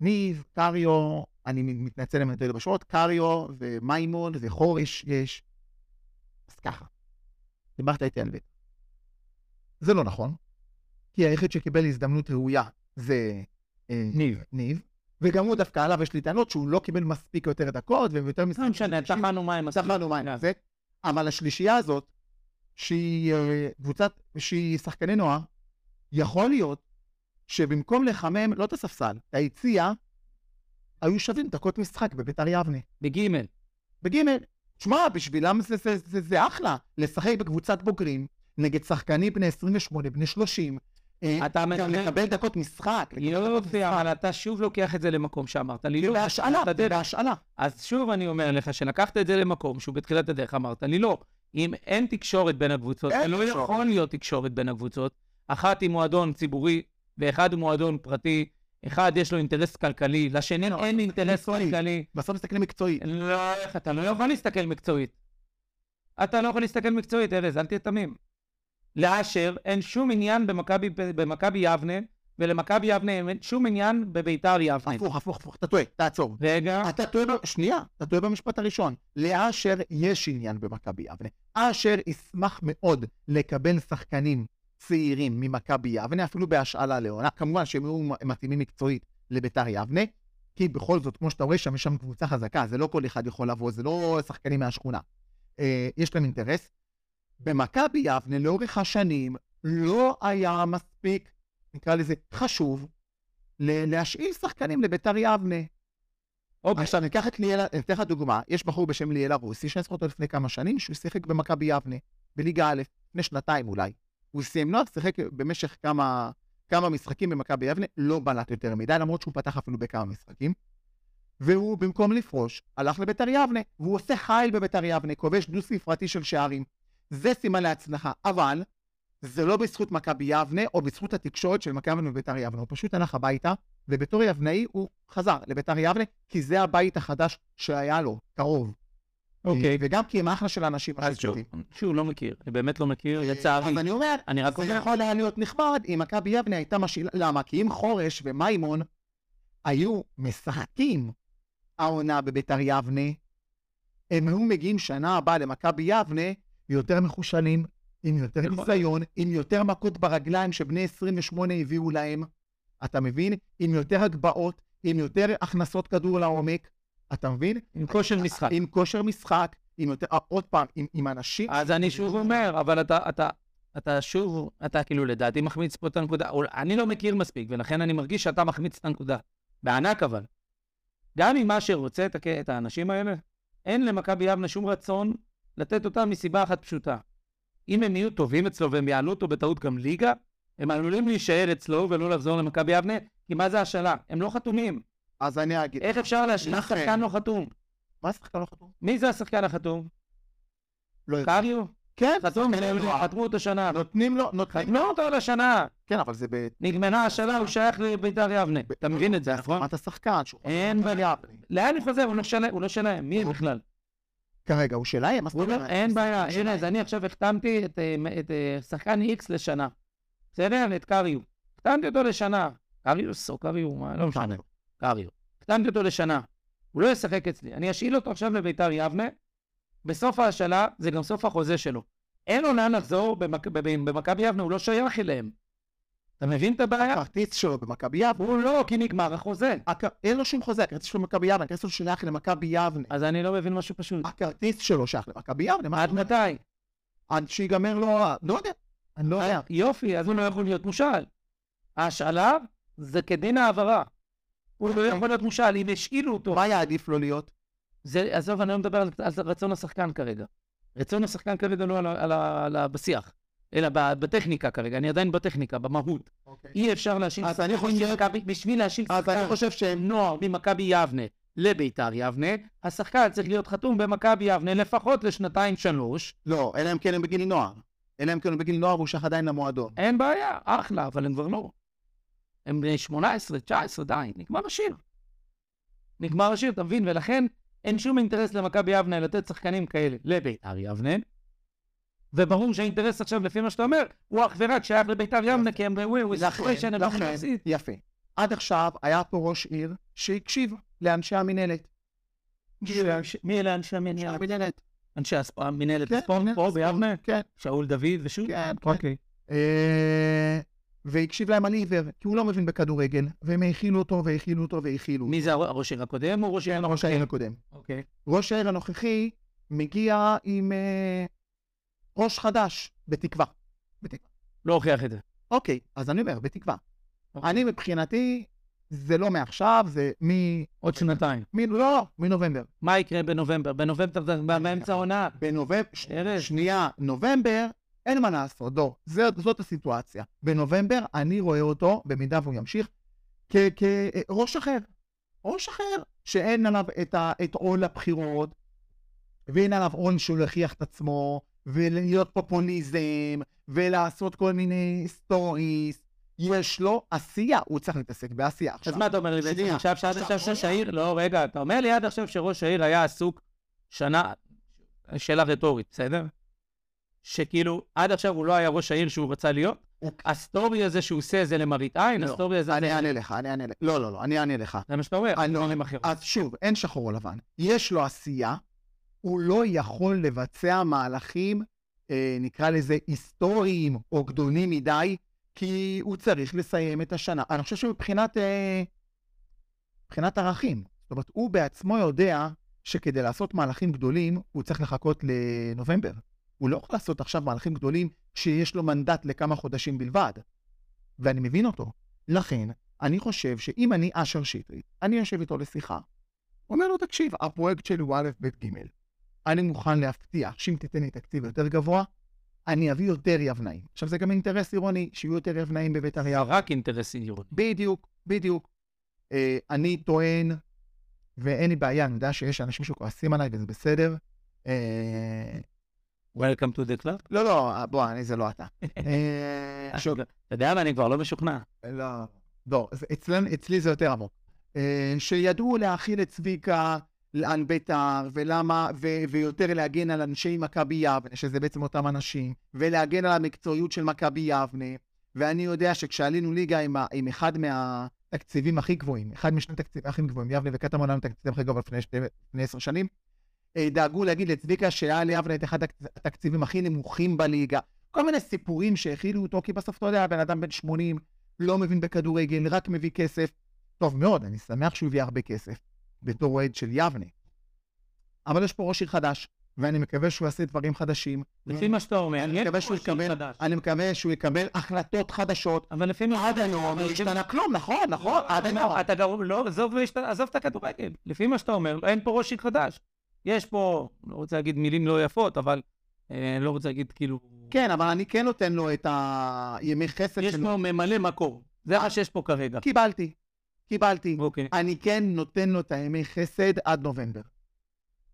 A: ניב, קריו, אני מתנצל אם אני טועה בשעות, קריו ומימון וחורש יש. אז ככה, דיברת איתי על בית. זה לא נכון, כי היחיד שקיבל הזדמנות ראויה זה אה,
C: ניב.
A: ניב, וגם הוא דווקא עליו יש לי טענות שהוא לא קיבל מספיק יותר דקות ויותר
C: לא משנה, טחנו מים. אז-
A: צחנו מים
C: כן.
A: זה. אבל השלישייה הזאת, שהיא אה, קבוצת, שהיא שחקני נוער, יכול להיות שבמקום לחמם, לא את הספסל, את היציע, היו שווים דקות משחק בביתר יבנה.
C: בגימל.
A: בגימל, שמע, בשבילם זה, זה, זה, זה אחלה, לשחק בקבוצת בוגרים, נגד שחקנים בני 28, בני 30. אה,
C: אתה
A: גם
C: מדבר...
A: לקבל דקות משחק.
C: יופי, אבל אתה שוב לוקח את זה למקום שאמרת לי. לא.
A: בהשאלה,
C: אתה יודע-
A: בהשאלה.
C: אז שוב אני אומר לך, שלקחת את זה למקום שהוא בתחילת הדרך אמרת לי לא. אם אין תקשורת בין הקבוצות,
A: אין
C: אין לא
A: תקשורת.
C: יכול להיות תקשורת בין הקבוצות. אחת היא מועדון ציבורי, ואחד הוא מועדון פרטי. אחד יש לו אינטרס כלכלי, לשני
A: לא,
C: אין אינטרס
A: מקצועי.
C: כלכלי.
A: בסוף מסתכלים מקצועית.
C: לא, איך אתה לא יכול להסתכל מקצועית. אתה לא יכול להסתכל מקצועית, ארז, אל תהיה תמים. לאשר אין שום עניין במכבי במכבי יבנה, ולמכבי יבנה אין שום עניין בביתר יבנה.
A: הפוך, הפוך, הפוך, אתה טועה, תעצור.
C: רגע.
A: אתה טועה, ב- שנייה, אתה טועה במשפט הראשון. לאשר יש עניין במכבי יבנה. אשר ישמח מאוד לקבל שחקנים צעירים ממכבי יבנה, אפילו בהשאלה לעונה. כמובן שהם יהיו מתאימים מקצועית לביתר יבנה, כי בכל זאת, כמו שאתה רואה שם, יש שם קבוצה חזקה, זה לא כל אחד יכול לבוא, זה לא שחקנים מהשכונה. אה, יש להם אינטרס. במכבי יבנה לאורך השנים לא היה מספיק, נקרא לזה, חשוב ל- להשאיל שחקנים לביתר יבנה.
C: אוקיי.
A: עכשיו ניקח את ליאלה, אני אתן לך דוגמה, יש בחור בשם ליאל הרוסי, שאני זוכר אותו לפני כמה שנים, שהוא שיחק במכבי יבנה, בליגה א', לפני שנתיים אולי. הוא סיים נוער, שיחק במשך כמה, כמה משחקים במכבי יבנה, לא בלט יותר מדי, למרות שהוא פתח אפילו בכמה משחקים. והוא, במקום לפרוש, הלך לביתר יבנה, והוא עושה חייל בביתר יבנה, כובש דו ספרתי של שערים. זה סימן להצלחה, אבל זה לא בזכות מכבי יבנה או בזכות התקשורת של מכבי יבנה וביתר יבנה, הוא פשוט הלך הביתה, ובתור יבנאי הוא חזר לביתר יבנה, כי זה הבית החדש שהיה לו, קרוב.
C: אוקיי.
A: וגם כי הם אחלה של אנשים.
D: אז שוב,
C: שהוא לא מכיר, אני באמת לא מכיר, לצערי.
A: אז אני אומר,
C: אני רק
A: אה, זה
C: אומר,
A: יכול היה להיות נחמד אם מכבי יבנה הייתה משאילה, למה? כי אם חורש ומימון היו משחקים העונה בביתר יבנה, הם היו מגיעים שנה הבאה למכבי יבנה יותר מחושלים, עם יותר
C: נכון.
A: ניסיון, עם יותר מכות ברגליים שבני 28 הביאו להם, אתה מבין? עם יותר הגבהות, עם יותר הכנסות כדור לעומק, אתה מבין?
C: עם
A: אה,
C: כושר משחק.
A: עם כושר משחק, עם יותר, אה, עוד פעם, עם, עם אנשים...
C: אז אני
A: אה,
C: שוב אומר, אבל אתה, אתה, אתה שוב, אתה כאילו לדעתי מחמיץ פה את הנקודה. אול- אני לא מכיר מספיק, ולכן אני מרגיש שאתה מחמיץ את הנקודה. בענק אבל. גם עם מה שרוצה את, הכ- את האנשים האלה, אין למכבי יבנה שום רצון לתת אותה מסיבה אחת פשוטה. אם הם יהיו טובים אצלו והם יעלו אותו בטעות גם ליגה, הם עלולים להישאר אצלו ולא לחזור למכבי יבנה, כי מה זה השאלה? הם לא חתומים.
A: אז אני אגיד,
C: איך אפשר להשאיר
A: לכן.
C: שחקן לא חתום?
A: מה השחקן לא חתום?
C: מי זה השחקן החתום?
A: לא יודע.
C: קריו?
A: כן,
C: חתום,
A: שחקן
C: הם
A: נוער.
C: חתמו אותו שנה.
A: נותנים לו, נותנים
C: חתמו אותו לשנה.
A: כן, אבל זה ב...
C: נגמרה השנה, הוא שייך לביתר יבנה. אתה מבין את זה, נכון?
A: בהסכמת השחקן, שהוא
C: אין
A: חוזר
C: בעיה.
A: ליבנה.
C: לאן הוא חוזר? הוא לא שלהם, הוא לא שלהם. מי הם בכלל?
A: כרגע הוא שלהם, אז
C: הוא אומר, אין בעיה. הנה, אז אני עכשיו החתמתי את, אה, מ- את אה, שחקן איקס לשנה. בסדר? את קריו. החתמתי אותו לשנה. קריוס או קריו, מה? לא משנה. קריו. החתמתי אותו לשנה. הוא לא ישחק אצלי. אני אשאיל אותו עכשיו לביתר יבנה. בסוף ההשאלה, זה גם סוף החוזה שלו. אין לו לאן לחזור במק- ב- במכבי יבנה, הוא לא שייך אליהם. אתה מבין את הבעיה?
A: הכרטיס שלו במכבי יבנה,
C: הוא לא, כי נגמר החוזה.
A: הכ- אין לו שום חוזה, הכרטיס שלו במכבי יבנה, הכרטיס שלו שייך למכבי יבנה.
C: אז אני לא מבין משהו פשוט.
A: הכרטיס שלו שייך למכבי יבנה, מה
C: עד
A: אתה אומר?
C: מתי?
A: עד שיגמר לו, ה- לא יודע, אני לא יודע.
C: יופי, אז הוא לא יכול להיות מושל. ההשאלה זה כדין העברה. הוא לא יכול להיות מושל, אם השאילו אותו.
A: מה היה עדיף לו להיות?
C: זה, עזוב, אני לא מדבר על, על רצון השחקן כרגע. רצון השחקן כרגע לא על, ה- על, ה- על, ה- בשיח, אלא ב- בטכניקה כרגע, אני עדיין בטכניקה, במהות. אי אפשר להשאיל
A: אז אני
C: שחקן
A: חושב-
C: ממכבי- בשביל להשאיל
A: אז
C: שחקן
A: אני חושב שהם...
C: נוער ממכבי יבנה לביתר יבנה, השחקן צריך להיות חתום במכבי יבנה לפחות לשנתיים-שלוש,
A: לא, אלא אם כן הם בגיל נוער. אלא אם כן הם בגיל נוער והוא שייך עדיין למועדון.
C: אין בעיה, אחלה, אבל הם כבר לא. הם בני 18, 19, די, נגמר השיר. נגמר השיר, אתה מבין? ולכן אין שום אינטרס למכבי יבנה לתת שחקנים כאלה לביתר יבנה. וברור שהאינטרס עכשיו, לפי מה שאתה אומר, הוא אך ורק שייך לביתר יבנה, כי הם ראו, הוא
A: לכן,
C: זכוי שהם לא
A: לכן,
C: מפסיד.
A: יפה. עד עכשיו היה פה ראש עיר שהקשיב לאנשי המינהלת.
C: מי אלה אנשי המנהלת?
A: המינהלת.
C: אנשי הספ- מנהלת
A: כן,
C: הספורט
A: מנהלת
C: פה
A: הספורט,
C: ביבנה?
A: כן.
C: שאול דוד ושוב?
A: כן, כן.
C: אוקיי.
A: אה, והקשיב להם על עיוור, כי הוא לא מבין בכדורגל, והם האכילו אותו והאכילו אותו והאכילו.
C: מי זה הר- הראש עיר הקודם או ראש עיר הנוכחי?
A: ראש העיר הקודם.
C: אוקיי.
A: ראש העיר הנוכחי מגיע עם אה, ראש חדש, בתקווה.
C: לא הוכיח את זה.
A: אוקיי, אז אני אומר, בתקווה. אני מבחינתי, זה לא מעכשיו, זה מ...
C: עוד שנתיים.
A: מ... לא, לא, מנובמבר.
C: מה יקרה בנובמבר? בנובמבר זה באמצע העונה.
A: בנובמבר, ש...
C: ארז.
A: שנייה, נובמבר, אין מה לעשות, דור. זה, זאת הסיטואציה. בנובמבר אני רואה אותו, במידה והוא ימשיך, כראש אחר. ראש אחר, שאין עליו את, ה, את עול הבחירות, ואין עליו עול שהוא להוכיח את עצמו, ולהיות פופוליזם, ולעשות כל מיני סטוריס. יש לו עשייה, הוא צריך להתעסק בעשייה עכשיו.
C: אז מה אתה אומר לי בעצם
A: שנייה.
C: עכשיו, שעד עכשיו ראש העיר, לא, רגע, אתה אומר לי עד עכשיו שראש העיר היה עסוק שנה, שאלה רטורית, בסדר? שכאילו, עד עכשיו הוא לא היה ראש העיר שהוא רצה להיות?
A: אוקיי.
C: הסטורי הזה שהוא עושה זה למראית עין,
A: לא.
C: הסטורי הזה...
A: אני אענה לך, אני אענה לך. לא, לא, לא, אני אענה לך.
C: זה מה שאתה אומר,
A: אני לא-
C: דברים אחרים.
A: אז שוב, אין שחור או לבן. יש לו עשייה, הוא לא יכול לבצע מהלכים, אה, נקרא לזה היסטוריים או גדולים מדי, כי הוא צריך לסיים את השנה. אני חושב שמבחינת אה, מבחינת ערכים, זאת אומרת, הוא בעצמו יודע שכדי לעשות מהלכים גדולים, הוא צריך לחכות לנובמבר. הוא לא יכול לעשות עכשיו מהלכים גדולים כשיש לו מנדט לכמה חודשים בלבד. ואני מבין אותו. לכן, אני חושב שאם אני אשר שטרית, אני יושב איתו לשיחה, אומר לו, תקשיב, הפרויקט שלי הוא א', ב', ג', אני מוכן להבטיח שאם תיתן לי תקציב יותר גבוה, אני אביא יותר יבנאים. עכשיו, זה גם אינטרס עירוני, שיהיו יותר יבנאים בביתר יבנה.
C: רק אינטרס עירוני.
A: בדיוק, בדיוק. אה, אני טוען, ואין לי בעיה, אני יודע שיש אנשים שכועסים עליי וזה בסדר. אה,
C: Welcome to the club.
A: לא, לא, בוא, אני זה לא אתה. אה, ש-
C: אתה יודע מה, אני כבר לא משוכנע.
A: לא, לא, זה- אצלנו- אצלי זה יותר עמוק. אה, שידעו להכיל את צביקה לאן ביתר, ולמה, ו- ויותר להגן על אנשי מכבי יבנה, שזה בעצם אותם אנשים, ולהגן על המקצועיות של מכבי יבנה. ואני יודע שכשעלינו ליגה עם, ה- עם אחד מהתקציבים הכי גבוהים, אחד משני התקציבים הכי גבוהים, יבנה וקטמון היה תקציב הכי גבוה לפני שתי- לפני עשר שנים, אה, דאגו להגיד לצביקה שהיה ליבנה את אחד התק- התקציבים הכי נמוכים בליגה. כל מיני סיפורים שהכילו אותו, כי בסוף אתה יודע, בן אדם בן 80, לא מבין בכדורגל, רק מביא כסף. טוב מאוד, אני שמח שהוא הביא הרבה כסף, בתור אוהד של יבנה. אבל יש פה ראש עיר חדש, ואני מקווה שהוא יעשה דברים חדשים.
C: לפי מה שאתה אומר,
A: לא. אני מקווה
C: יש
A: שהוא
C: פה שיר
A: יקבל-
C: חדש.
A: אני מקווה שהוא יקבל החלטות חדשות.
C: אבל לפי מה...
A: עד היום לא השתנה כלום, נכון, נכון, עד היום.
C: אתה גרוע, "כן." לא, עזוב, לא השת- עזוב את הכדורגל. לפי מה שאתה אומר, אין פה ראש עיר חדש. יש פה, לא רוצה להגיד מילים לא יפות, אבל אה, לא רוצה להגיד כאילו...
A: כן, אבל אני כן נותן לו את הימי חסד
C: יש
A: שלו.
C: פה ממלא מקום. זה מה שיש פה כרגע.
A: קיבלתי, קיבלתי.
C: אוקיי.
A: אני כן נותן לו את הימי חסד עד נובמבר.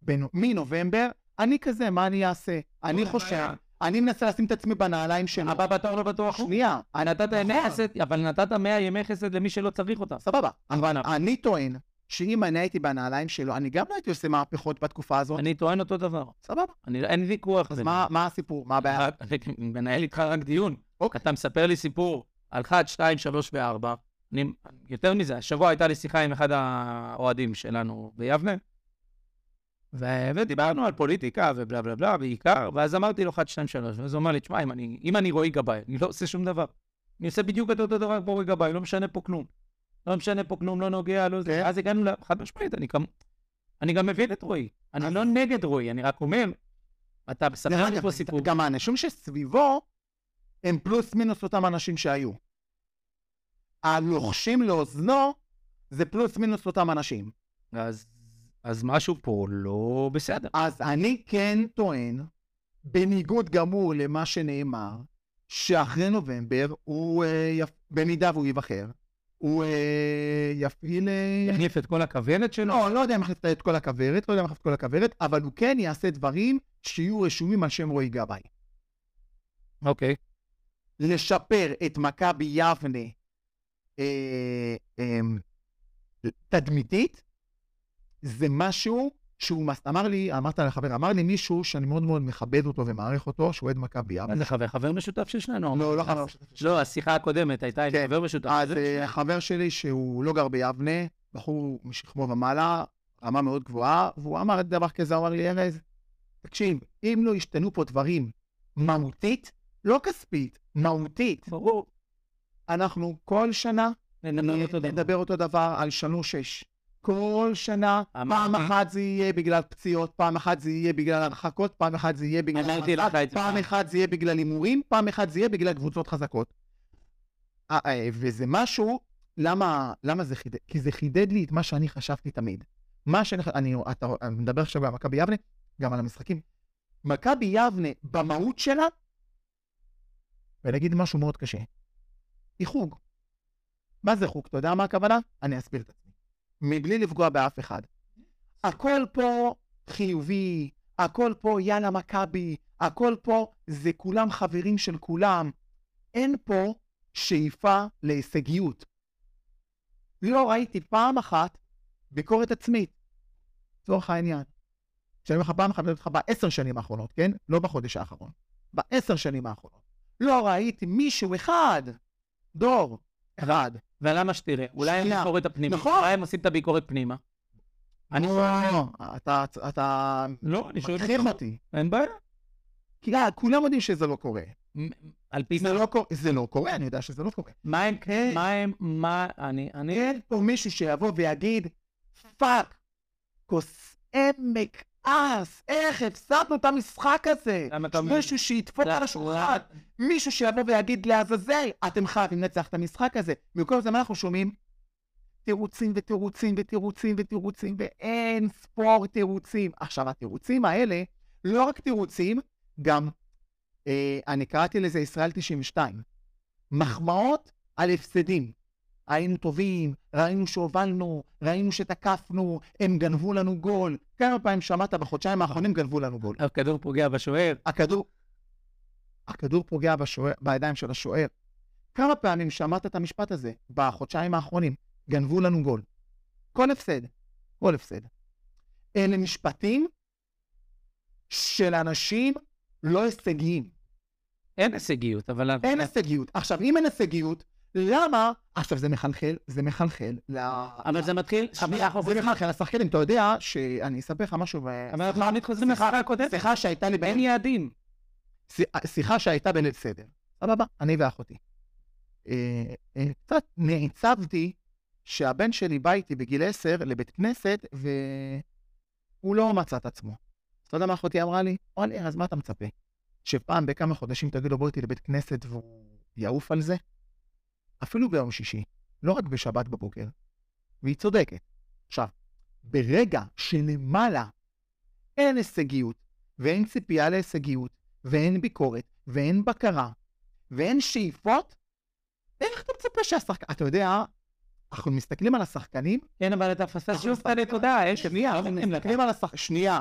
A: בנו- מנובמבר, אני כזה, מה אני אעשה? אני חושב, אני מנסה לשים את עצמי בנעליים שלו.
C: הבא בתור לא בטוח הוא.
A: שנייה,
C: נתת
A: נכון.
C: ימי חסד, אבל נתת 100 ימי חסד למי שלא צריך אותם.
A: סבבה.
C: אבל
A: אני טוען שאם אני הייתי בנעליים שלו, אני גם לא הייתי עושה מהפכות בתקופה הזאת.
C: אני טוען אותו דבר.
A: סבבה.
C: אני- אין ויכוח.
A: אז
C: בינינו.
A: מה מה הסיפור? מה הבעיה?
C: רק- אני מנהל איתך רק דיון.
A: אוקיי.
C: אתה מספר לי סיפור על 1, 2, 3 ו-4. אני, יותר מזה, השבוע הייתה לי שיחה עם אחד האוהדים שלנו ביבנה, ו- ודיברנו על פוליטיקה ובלה בלה בלה בעיקר, ואז אמרתי לו 1, 2, 3, ואז הוא אמר לי, תשמע, אם אני, אם אני רועי גבאי, אני לא עושה שום דבר. אני עושה בדיוק את אותו דבר כמו רועי גבאי, לא משנה פה כלום. לא משנה פה כלום, לא נוגע, לא
A: כן.
C: זה. אז הגענו, ל- חד משמעית, אני גם, אני גם מבין את רועי. אני לא נגד רועי, אני רק אומר, אתה
A: דרך
C: מספר לי
A: אגב,
C: פה סיפור.
A: גם האנשים שסביבו הם פלוס מינוס אותם אנשים שהיו. הלוחשים לאוזנו זה פלוס מינוס אותם אנשים.
C: אז, אז משהו פה לא בסדר.
A: אז אני כן טוען, בניגוד גמור למה שנאמר, שאחרי נובמבר הוא, אה, יפ... במידה והוא ייבחר, הוא אה, יפעיל... אה,
C: יחליף את כל הכוונת שלו?
A: לא, לא יודע אם החליף את כל הכוורת, לא יודע אם החליף את כל הכוורת, אבל הוא כן יעשה דברים שיהיו רשומים על שם רועי גבאי.
C: אוקיי.
A: לשפר את מכבי יבנה אה, אה, תדמיתית, זה משהו שהוא מס... אמר לי, אמרת לחבר, אמר לי מישהו שאני מאוד מאוד מכבד אותו ומעריך אותו, שהוא אוהד מכבי יבנה.
C: מה זה חבר? חבר משותף של שנינו.
A: אה, לא, לא חבר.
C: לא, השיחה הקודמת הייתה עם
A: כן.
C: חבר משותף.
A: אז
C: נכון. זה-
A: אה, חבר שלי שהוא לא גר ביבנה, בחור משכמו ומעלה, רמה מאוד גבוהה, והוא אמר דבר כזה, הוא אמר לי, ארז, תקשיב, אם לא ישתנו פה דברים מהותית, לא כספית, מהותית,
C: ברור.
A: אנחנו כל שנה
C: נדבר אותו דבר.
A: נדבר אותו דבר על שלוש שש. כל שנה,
C: אמרתי.
A: פעם אחת זה יהיה בגלל פציעות, פעם אחת זה יהיה בגלל הרחקות, פעם אחת זה יהיה בגלל...
C: אמרתי לך את זה.
A: פעם אחת זה יהיה בגלל הימורים, פעם אחת זה יהיה בגלל קבוצות חזקות. אה, אה, וזה משהו, למה, למה זה חידד? כי זה חידד לי את מה שאני חשבתי תמיד. מה שאני, ח- אני, אתה אני מדבר עכשיו על מכבי יבנה, גם על המשחקים. מכבי יבנה, במהות שלה, ונגיד משהו מאוד קשה, היא חוג. מה זה חוג? אתה יודע מה הכוונה? אני אסביר את עצמי. מבלי לפגוע באף אחד. הכל פה חיובי, הכל פה יאללה מכבי, הכל פה זה כולם חברים של כולם. אין פה שאיפה להישגיות. לא ראיתי פעם אחת ביקורת עצמית. לצורך העניין. כשאני אומר לך פעם אחת, אני אומר לך בעשר שנים האחרונות, כן? לא בחודש האחרון. בעשר שנים האחרונות. לא ראיתי מישהו אחד, דור, אחד.
C: ולמה שתראה? אולי הם
A: שנייה.
C: ביקורת הפנימה.
A: נכון.
C: אולי הם עושים את הביקורת פנימה. אני
A: לא, אתה, אתה
C: לא, אני שואל
A: מתחיל אותי.
C: אין בעיה.
A: כי אה, כולם יודעים שזה לא קורה.
C: מ- על פי
A: זה לא קורה, זה לא קורה, אני יודע שזה לא קורה.
C: מה הם,
A: כן.
C: מה הם, מה, אני, אני,
A: אין פה מישהו שיבוא ויגיד, פאק, כוס עמק אס, איך הפסדנו את המשחק הזה?
C: למה אתה אומר?
A: מישהו שידפוק
C: אתה-
A: על השולחן, מישהו שיבוא ויגיד לעזאזל, אתם חייבים לנצח את המשחק הזה. במקום זה מה אנחנו שומעים? תירוצים ותירוצים ותירוצים ותירוצים ואין ספור תירוצים. עכשיו, התירוצים האלה, לא רק תירוצים, גם אה, אני קראתי לזה ישראל 92. מחמאות על הפסדים. היינו טובים, ראינו שהובלנו, ראינו שתקפנו, הם גנבו לנו גול. כמה פעמים שמעת בחודשיים האחרונים גנבו לנו גול.
C: הכדור פוגע בשוער,
A: הכדור, הכדור פוגע בשוער, בידיים של השוער. כמה פעמים שמעת את המשפט הזה בחודשיים האחרונים? גנבו לנו גול. כל הפסד, כל הפסד. אלה משפטים של אנשים לא הישגיים.
C: אין הישגיות, אבל...
A: אין הישגיות. עכשיו, אם אין הישגיות, למה... עכשיו, זה מחלחל, זה מחלחל. ל-
C: אבל זה מתחיל... אבל אנחנו
A: זה
C: חוזרים
A: מחלחל לשחקנים. אתה יודע שאני אספר לך משהו, ו-
C: אבל אנחנו תמיד חוזרים לחברה הקודמת.
A: שיחה שהייתה לי
C: אין
A: בין...
C: יעדים.
A: שי- שיחה שהייתה בליל סדר. סבבה, אני ואחותי. אה, אה, קצת נעצבתי שהבן שלי בא איתי בגיל 10 לבית כנסת, והוא לא מצא את עצמו. אתה יודע מה אחותי אמרה לי? וואלה, אז מה אתה מצפה? שפעם בכמה חודשים תגיד לו בוא איתי לבית כנסת והוא יעוף על זה? אפילו ביום שישי, לא רק בשבת בבוקר. והיא צודקת. עכשיו, ברגע שלמעלה אין הישגיות, ואין ציפייה להישגיות, ואין ביקורת, ואין בקרה, ואין שאיפות, איך אתה מצפה שהשחקן... אתה יודע, אנחנו מסתכלים על השחקנים,
C: כן, אבל אתה פספס שוב את הנקודה, אין אה, שנייה, אה,
A: אנחנו מסתכלים על השחקנים... שנייה,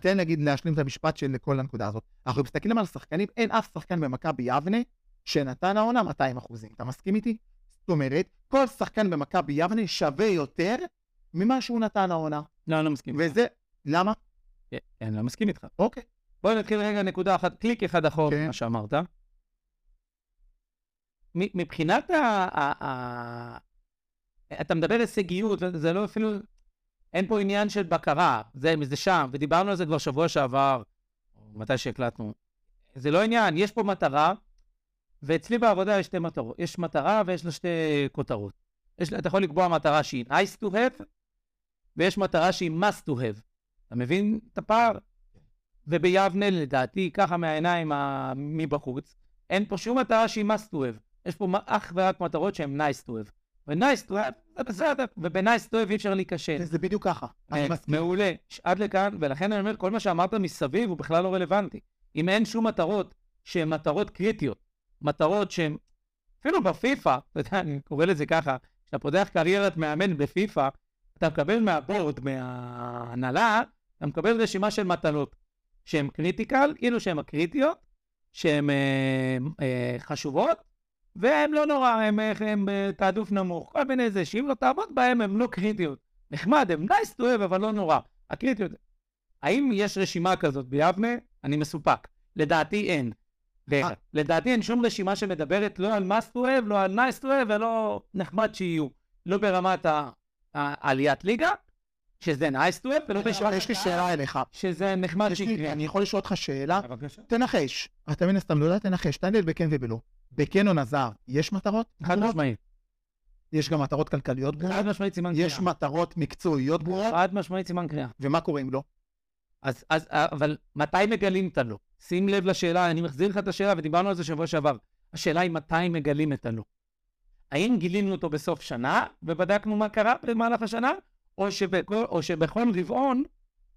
A: תן נגיד להשלים את המשפט של כל הנקודה הזאת. אנחנו מסתכלים על השחקנים, אין אף שחקן במכבי יבנה שנתן העונה 200 אחוזים. אתה מסכים איתי? זאת אומרת, כל שחקן במכבי יבנה שווה יותר ממה שהוא נתן העונה.
C: לא, אני לא מסכים.
A: וזה... למה?
C: כן, אני לא מסכים איתך.
A: אוקיי.
C: בואו נתחיל רגע נקודה אחת, קליק אחד אחורה
A: כן.
C: ממה שאמרת. מ- מבחינת ה... ה- ה- אתה מדבר הישגיות, זה לא אפילו... אין פה עניין של בקרה, זה, זה שם, ודיברנו על זה כבר שבוע שעבר, או מתי שהקלטנו. זה לא עניין, יש פה מטרה, ואצלי בעבודה יש שתי מטרות. יש מטרה ויש לה שתי כותרות. יש, לה- אתה יכול לקבוע מטרה שהיא nice to have, ויש מטרה שהיא must to have. אתה מבין את הפער? וביבנה, לדעתי, ככה מהעיניים ה- מבחוץ, אין פה שום מטרה שהיא must to have. יש פה מ- אך ורק מטרות שהן nice to have. ו-nice to have, זה בסדר, וב-nice to have אי אפשר להיכשל.
A: זה בדיוק ככה. אני
C: כן. אה,
A: מסכים.
C: מעולה, ש- עד לכאן, ולכן אני אומר, כל מה שאמרת מסביב הוא בכלל לא רלוונטי. אם אין שום מטרות שהן מטרות קריטיות, מטרות שהן, אפילו בפיפ"א, אתה יודע, אני קורא לזה ככה, כשאתה פותח קריירת מאמן בפיפ"א, אתה מקבל מהבורד, מההנהלה, אתה מקבל רשימה של מטלות שהן קריטיקל, כאילו שהן הקריטיות, שהן אה, אה, חשובות, והן לא נורא, הן הם, אה, תעדוף נמוך, כל מיני זה, שאם לא תעמוד בהן, הן לא קריטיות. נחמד, הם nice to have, אבל לא נורא. הקריטיות. האם יש רשימה כזאת ביבנה? אני מסופק. לדעתי אין. דרך
A: אה.
C: אגב, לדעתי אין שום רשימה שמדברת לא על must to have, לא על nice to have, ולא נחמד שיהיו. לא ברמת ה- ה- עליית ליגה, שזה nice to have, ולא ברמת
A: יש לי שאלה אליך.
C: שזה נחמד
A: יש לי-
C: שיקרה.
A: אני יכול לשאול אותך שאלה?
C: בבקשה.
A: תנחש. אתה מן הסתם לא יודע, תנחש. תענה לי בכן ובלא. בכן או נזר, יש מטרות?
C: חד משמעית.
A: יש גם מטרות כלכליות
C: חד
A: ברורות?
C: משמעית סימן קריאה.
A: יש מטרות מקצועיות ברורות?
C: חד משמעית סימן קריאה.
A: ומה קורה אם לא?
C: אז, אז, אה, אבל מתי מגלים את הלא? שים לב לשאלה, אני מחזיר לך את השאלה, ודיברנו על זה שבוע שעבר. השאלה היא מתי מגלים את הלא. האם גילינו אותו בסוף שנה, ובדקנו מה קרה במהלך השנה, או, שבכל, או שבכל רבעון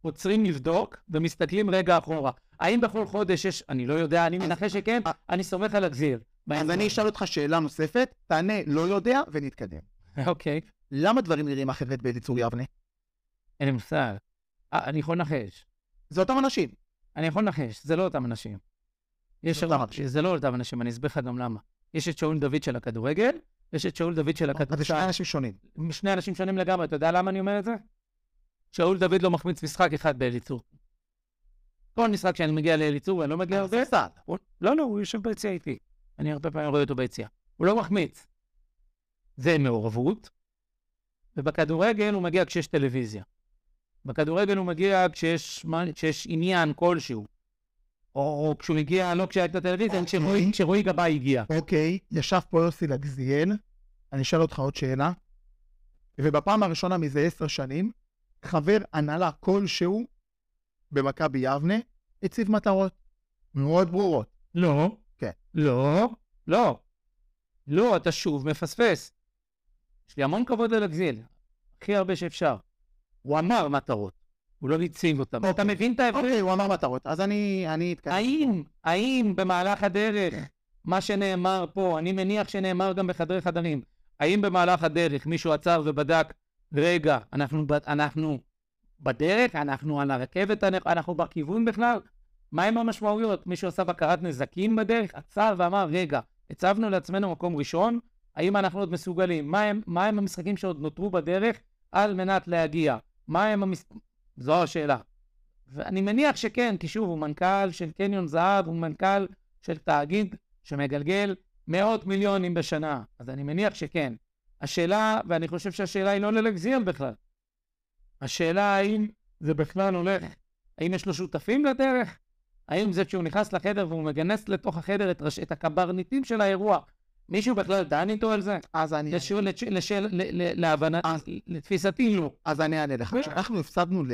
C: עוצרים לבדוק ומסתכלים רגע אחורה. האם בכל חודש יש, אני לא יודע, אני מנחש שכן,
A: אז- אה,
C: אני סומך על הגזיר.
A: אז אני אשאל אותך שאלה נוספת, תענה לא יודע ונתקדם.
C: אוקיי,
A: למה דברים נראים אחרת בליצור יבנה?
C: אין לי מושג. אה, אני יכול לנחש.
A: זה אותם אנשים.
C: אני יכול לנחש, זה לא אותם אנשים. יש
A: זה אותם
C: הרבה,
A: אנשים.
C: זה לא אותם אנשים, אני אסביר לך גם למה. יש את שאול דוד של הכדורגל, יש את שאול דוד של
A: אז זה אוקיי, שני
C: הכדורסל.
A: אנשים שונים.
C: שני אנשים שונים לגמרי, אתה יודע למה אני אומר את זה? שאול דוד לא מחמיץ משחק אחד באליצור. כל משחק שאני מגיע לאליצור, ואני לא
A: אה,
C: מגיע הרבה,
A: הספסל.
C: הוא- לא, לא, הוא יושב ביציע איתי. אני הרבה פעמים רואה אותו ביציע. הוא לא מחמיץ. זה מעורבות, ובכדורגל הוא מגיע כשיש טלוויזיה. בכדורגל הוא מגיע כשיש, מה- כשיש עניין כלשהו. או כשהוא מגיע, לא כשהייתה טלוויזיה, כשרועי- כשרועי גבאי הגיע.
A: אוקיי, ישב פה יוסי לגזיאל, אני אשאל אותך עוד שאלה, ובפעם הראשונה מזה עשר שנים, חבר הנהלה כלשהו במכבי יבנה הציב מטרות מאוד ברורות.
C: לא.
A: כן.
C: לא. לא. לא, אתה שוב מפספס. יש לי המון כבוד ללגזיל, הכי הרבה שאפשר. הוא אמר מטרות. הוא לא הציב אותם. אתה
A: אוקיי.
C: מבין את ההבדל?
A: אוקיי, הוא אמר מטרות, אז אני אני אתקדם.
C: האם, האם במהלך הדרך, מה שנאמר פה, אני מניח שנאמר גם בחדרי חדרים, האם במהלך הדרך מישהו עצר ובדק, רגע, אנחנו, ב- אנחנו בדרך, אנחנו על הרכבת, אנחנו- אנחנו בכיוון בכלל? מהם המשמעויות? מישהו עשה בקרת נזקים בדרך, עצר ואמר, רגע, הצבנו לעצמנו מקום ראשון, האם אנחנו עוד מסוגלים? מהם, מהם המשחקים שעוד נותרו בדרך על מנת להגיע? מהם המס... זו השאלה. ואני מניח שכן, כי שוב, הוא מנכ"ל של קניון זהב, הוא מנכ"ל של תאגיד שמגלגל מאות מיליונים בשנה, אז אני מניח שכן. השאלה, ואני חושב שהשאלה היא לא ללגזיאל בכלל. השאלה האם זה בכלל הולך, האם יש לו שותפים לדרך? האם זה כשהוא נכנס לחדר והוא מגנס לתוך החדר את, רש... את הקברניטים של האירוע, מישהו בכלל דן איתו על זה?
A: אז אני...
C: לשאול, לש... לשאל, ל... ל... להבנת, לתפיסתי לא.
A: אז אני אענה לך.
C: ו-
A: כשאנחנו הפסדנו ל...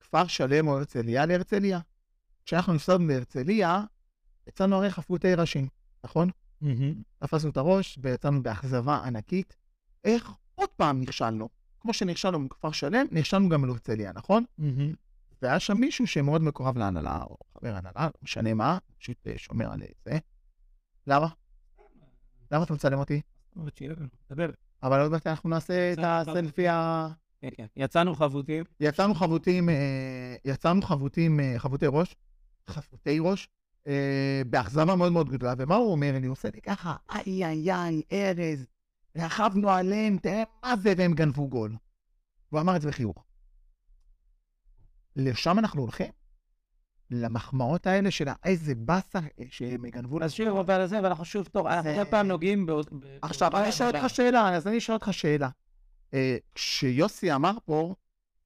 A: כפר שלם או הרצליה להרצליה. כשאנחנו הפסדנו להרצליה, יצאנו הרי חפותי ראשים, נכון? תפסנו את הראש ויצאנו באכזבה ענקית. איך עוד פעם נכשלנו? כמו שנכשלנו בכפר שלם, נכשלנו גם בהרצליה, נכון? והיה שם מישהו שמאוד מקורב להנהלה, או חבר הנהלה, לא משנה מה, פשוט אה, שומר על אה, זה. למה? למה אתה מצלם אותי? אבל עוד מעט אנחנו נעשה את הסלפי ה...
C: כן, כן. יצאנו חבוטים.
A: יצרנו חבוטים, אה, יצרנו חבוטים, אה, חבוטי ראש, חפותי ראש, אה, באכזבה מאוד מאוד גדולה, ומה הוא אומר? אני עושה לי ככה, איי איי איי, ארז, רכבנו עליהם, תראה מה זה, והם גנבו גול. והוא אמר את זה בחיוך. לשם אנחנו הולכים? למחמאות האלה של איזה באסה אה, שהם גנבו
C: אז שיר עובר לזה, ואנחנו שוב, טוב, אנחנו
A: זה-
C: כל פעם נוגעים בעוד... ב-
A: עכשיו,
C: באותה
A: אני אשאל
C: נקודה.
A: אותך שאלה, אז אני אשאל אותך שאלה. אה, כשיוסי אמר פה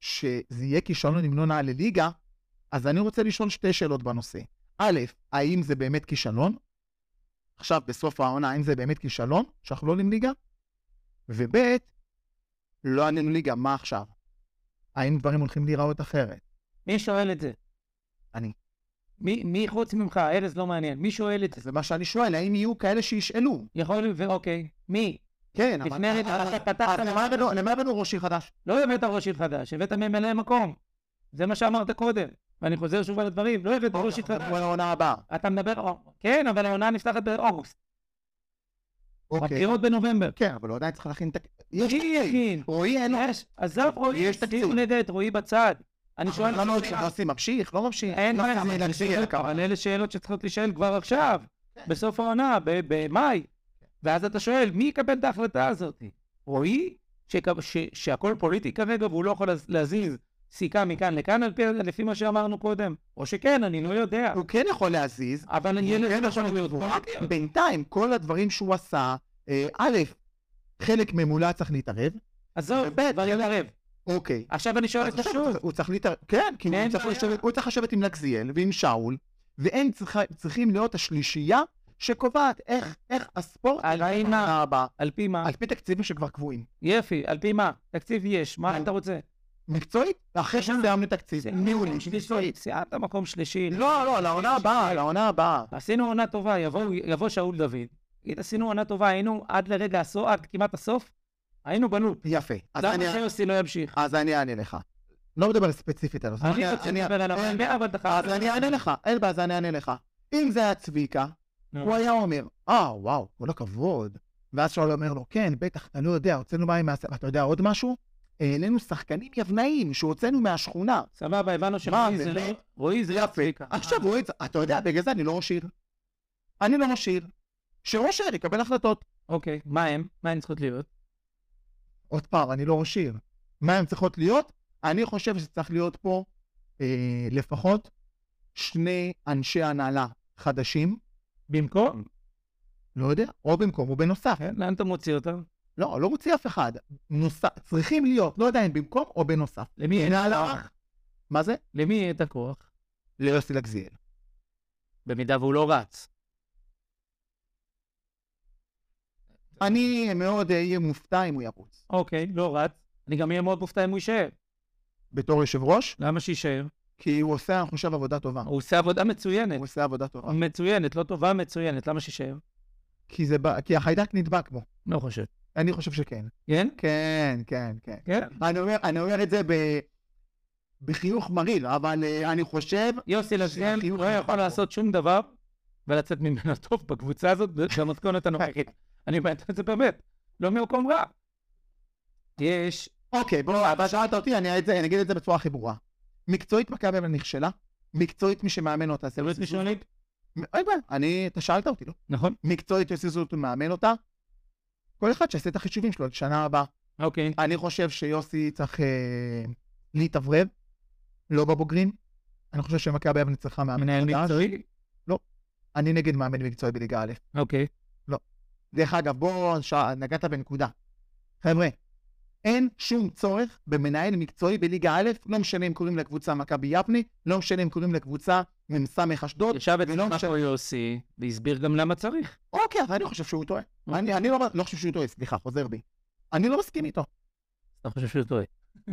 A: שזה יהיה כישלון אם לא נעלה ליגה, אז אני רוצה לשאול שתי שאלות בנושא. א', האם זה באמת כישלון? עכשיו, בסוף העונה, האם זה באמת כישלון שאנחנו לא עולים ליגה? וב', לא עלינו ליגה, מה עכשיו? האם דברים הולכים להיראות אחרת?
C: מי שואל את זה?
A: אני.
C: מי, מי חוץ ממך? ארז לא מעניין. מי שואל את זה?
A: זה מה שאני שואל, האם יהיו כאלה שישאלו?
C: יכול להיות, ואוקיי. מי?
A: כן, אבל...
C: לפני רגע,
A: אבל-
C: אתה פתחת-
A: אבל למה הבאנו- למה הבאנו ראש עיר חדש?
C: לא הבאת ראש עיר חדש, הבאת ממלא מקום. זה מה שאמרת קודם. ואני חוזר שוב על הדברים, לא הבאת ראש עיר חדש.
A: אנחנו לעונה הבאה.
C: אתה מדבר, או, כן, אבל העונה נפתחת באוגוסט.
A: אוקיי.
C: הבחירות בנובמבר.
A: כן, אבל הוא עדיין צריך להכין את... הכ- יש
C: מי
A: תקציב.
C: הכין?
A: רועי אין לו...
C: יש, עזב רועי,
A: יש תקציב. אה, לא,
C: שים נדע את רועי בצד. אני שואל...
A: למה הוא יוסי ממשיך? לא ממשיך.
C: אין
A: לא
C: בעיה,
A: זה
C: אבל
A: להחזיר,
C: שאלות-
A: כמובן.
C: אבל אלה שאלות שצריכות להישאל כבר עכשיו,
A: כן.
C: בסוף העונה, ב- במאי. ואז אתה שואל, מי יקבל את ההחלטה הזאת? רועי, שכ- ש- שהכל פוליטי כרגע והוא לא יכול להז- להזיז סיכה מכאן לכאן על פי- לפי מה שאמרנו קודם? או שכן, אני לא יודע.
A: הוא כן יכול להזיז.
C: אבל אני
A: הוא
C: ילד
A: כן יכול להיות בינתיים, כל הדברים שהוא עשה, אה, א', חלק ממולה צריך להתערב.
C: עזוב,
A: באמת,
C: כבר יתערב.
A: אוקיי.
C: עכשיו אני שואל
A: אז
C: אותך
A: עכשיו
C: שוב.
A: הוא- הוא צריך להתערב. כן, כי הוא
C: אין
A: צריך
C: בעיה.
A: לשבת- הוא צריך לשבת עם לגזיאל ועם שאול, והם צריכה- צריכים להיות השלישייה שקובעת איך- איך הספורט...
C: על פי מה?
A: בעונה הבאה.
C: על פי מה?
A: על פי תקציבים שכבר קבועים.
C: יפי, על פי מה? תקציב יש, מה
A: כן.
C: אתה רוצה?
A: מקצועית, אחרי
C: אה.
A: שסיימנו תקציב, ניהולי, מקצועית.
C: סיימת מקום שלישי.
A: לא, לא, לעונה הבאה, לעונה הבאה.
C: עשינו עונה טובה, יבוא, יבוא שאול דוד, יגיד, עשינו עונה טובה, היינו עד לרגע הסוף, עד כמעט הסוף, היינו בלופ.
A: יפה. אז
C: למה
A: אני-
C: שיוסי לא ימשיך?
A: אז אני אענה לך. לא מדבר ספציפית על זה.
C: אני אה, רוצה
A: אני-
C: לדבר על
A: אין-
C: הרבה, אבל דחה.
A: אז אני אענה לך, אין בעיה, אז אני אענה לך. אם זה היה צביקה,
C: נו.
A: הוא היה אומר, אה, וואו, כל הכבוד. ואז שאול אומר לו, כן, בטח, אני לא יודע, הוצאנו מים מהסבבה. אתה יודע עוד משהו? העלינו שחקנים יבנאים שהוצאנו מהשכונה.
C: סבבה, הבנו
A: מה,
C: שרועי זה לא...
A: באמת?
C: רועי זה לא צביקה.
A: עכשיו הוא... אתה יודע, בגלל זה אני לא ראש עיר. אני לא ראש עיר. שראש העיר יקבל החלטות.
C: אוקיי, מה הם? מה הם צריכות להיות?
A: עוד פעם, אני לא ראש עיר. מה הן צריכות להיות? אני חושב שצריך להיות פה אה, לפחות שני אנשי הנהלה חדשים,
C: במקום?
A: לא יודע, או במקום או בנוסף.
C: כן, לאן אתה מוציא אותם?
A: לא, לא מוציא אף אחד. נוסף, צריכים להיות, לא יודע אם במקום או בנוסף.
C: למי אין את
A: נעלה.
C: הכוח?
A: מה זה?
C: למי אין את הכוח?
A: ליוסי לגזיאל.
C: במידה והוא לא רץ.
A: אני מאוד אה, אהיה מופתע אם הוא ירוץ.
C: אוקיי, לא רץ. אני גם אהיה מאוד מופתע אם הוא יישאר.
A: בתור יושב ראש,
C: למה שיישאר?
A: כי הוא עושה, אני חושב, עבודה טובה.
C: הוא עושה עבודה מצוינת.
A: הוא עושה עבודה טובה.
C: מצוינת, לא טובה, מצוינת. למה שיישאר?
A: כי זה בא- כי החיידק נדבק בו.
C: לא חושב.
A: אני חושב שכן.
C: כן?
A: כן, כן, כן.
C: כן.
A: אני אומר, אני אומר את זה ב... בחיוך מרעיל, אבל אה, אני חושב...
C: יוסי לזגן
A: שהחיוך
C: לא
A: נמצא
C: יכול
A: פה.
C: לעשות שום דבר ולצאת ממנה טוב בקבוצה הזאת במתכונת הנוכחית. אני אומר את זה באמת, לא ממקום רע. יש,
A: אוקיי, בוא, אבל שאלת אותי, אני את זה- אני אגיד את זה בצורה הכי ברורה. מקצועית מכבי אבל נכשלה, מקצועית מי שמאמן אותה... זה
C: סבלות
A: יוסי זוזו.
C: ראשונית,
A: אין בעיה, אני... אתה שאלת אותי, לא?
C: נכון?
A: מקצועית יוסי זוטו מאמן אותה. כל אחד שיעשה את החישובים שלו לשנה הבאה.
C: אוקיי.
A: אני חושב שיוסי צריך אה, להתאוורר, לא בבוגרים. אני חושב שמכבי אבני צריכה מאמן
C: מנהל
A: חדש.
C: מקצועי?
A: אני נגד מאמן מקצועי בליגה א'.
C: אוקיי.
A: דרך אגב, בוא, ש... נגעת בנקודה. חבר'ה, אין שום צורך במנהל מקצועי בליגה א', לא משנה אם קוראים לקבוצה מכבי יפני, לא משנה אם קוראים לקבוצה מ"ס אשדוד.
C: ישב
A: ולא
C: אצלך
A: משנה.
C: פה יוסי והסביר גם למה צריך.
A: אוקיי, אבל אני חושב שהוא טועה.
C: אוקיי.
A: אני, אני לא, לא חושב שהוא טועה, סליחה, חוזר בי. אני לא מסכים איתו.
C: אתה חושב שהוא טועה.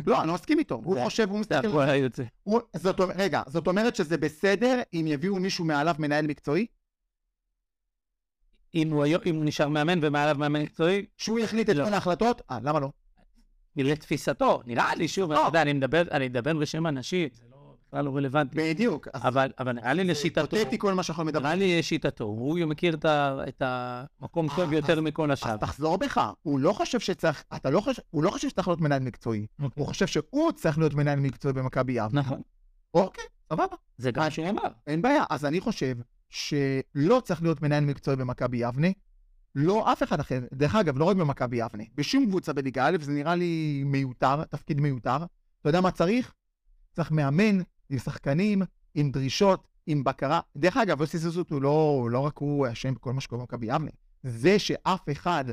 A: לא, אני לא מסכים איתו.
C: זה-
A: הוא חושב, הוא
C: זה
A: מסתכל...
C: הכל היה יוצא.
A: הוא, זאת, אומרת- רגע, זאת אומרת שזה בסדר אם יביאו מישהו מעליו מנהל מקצועי?
C: אם הוא היום- אם הוא נשאר מאמן ומעליו מאמן מקצועי,
A: שהוא יחליט את
C: לא.
A: כל ההחלטות? אה, למה לא?
C: לתפיסתו, נראה לי, שוב, אתה יודע, אני מדבר, אני מדבר בשם אנשים, זה לא, בכלל לא רלוונטי.
A: בדיוק. אז
C: אבל, אבל נראה לי לשיטתו,
A: פותטי כל מה שאנחנו מדברים.
C: נראה לי לשיטתו, הוא מכיר את ה- את המקום טוב
A: אה,
C: יותר מכל
A: אז
C: השאר.
A: תחזור בך, הוא לא חושב שצריך, אתה לא חושב, הוא לא חושב שצריך להיות מנהל מקצועי, הוא חושב שהוא צריך להיות מנהל מקצועי במכבי יבנה.
C: נכון.
A: אוקיי, סבבה,
C: זה גם מה שהוא אמר.
A: אין בעיה. אז אני חושב שלא צריך להיות מנהל מקצועי במכבי יבנה, לא אף אחד אחר, דרך אגב, לא רק במכבי יבנה, בשום קבוצה בליגה א', זה נראה לי מיותר, תפקיד מיותר. אתה יודע מה צריך? צריך מאמן עם שחקנים, עם דרישות, עם בקרה. דרך אגב, יוסי זוזות הוא לא, לא רק הוא אשם בכל מה שקורה במכבי יבנה. זה שאף אחד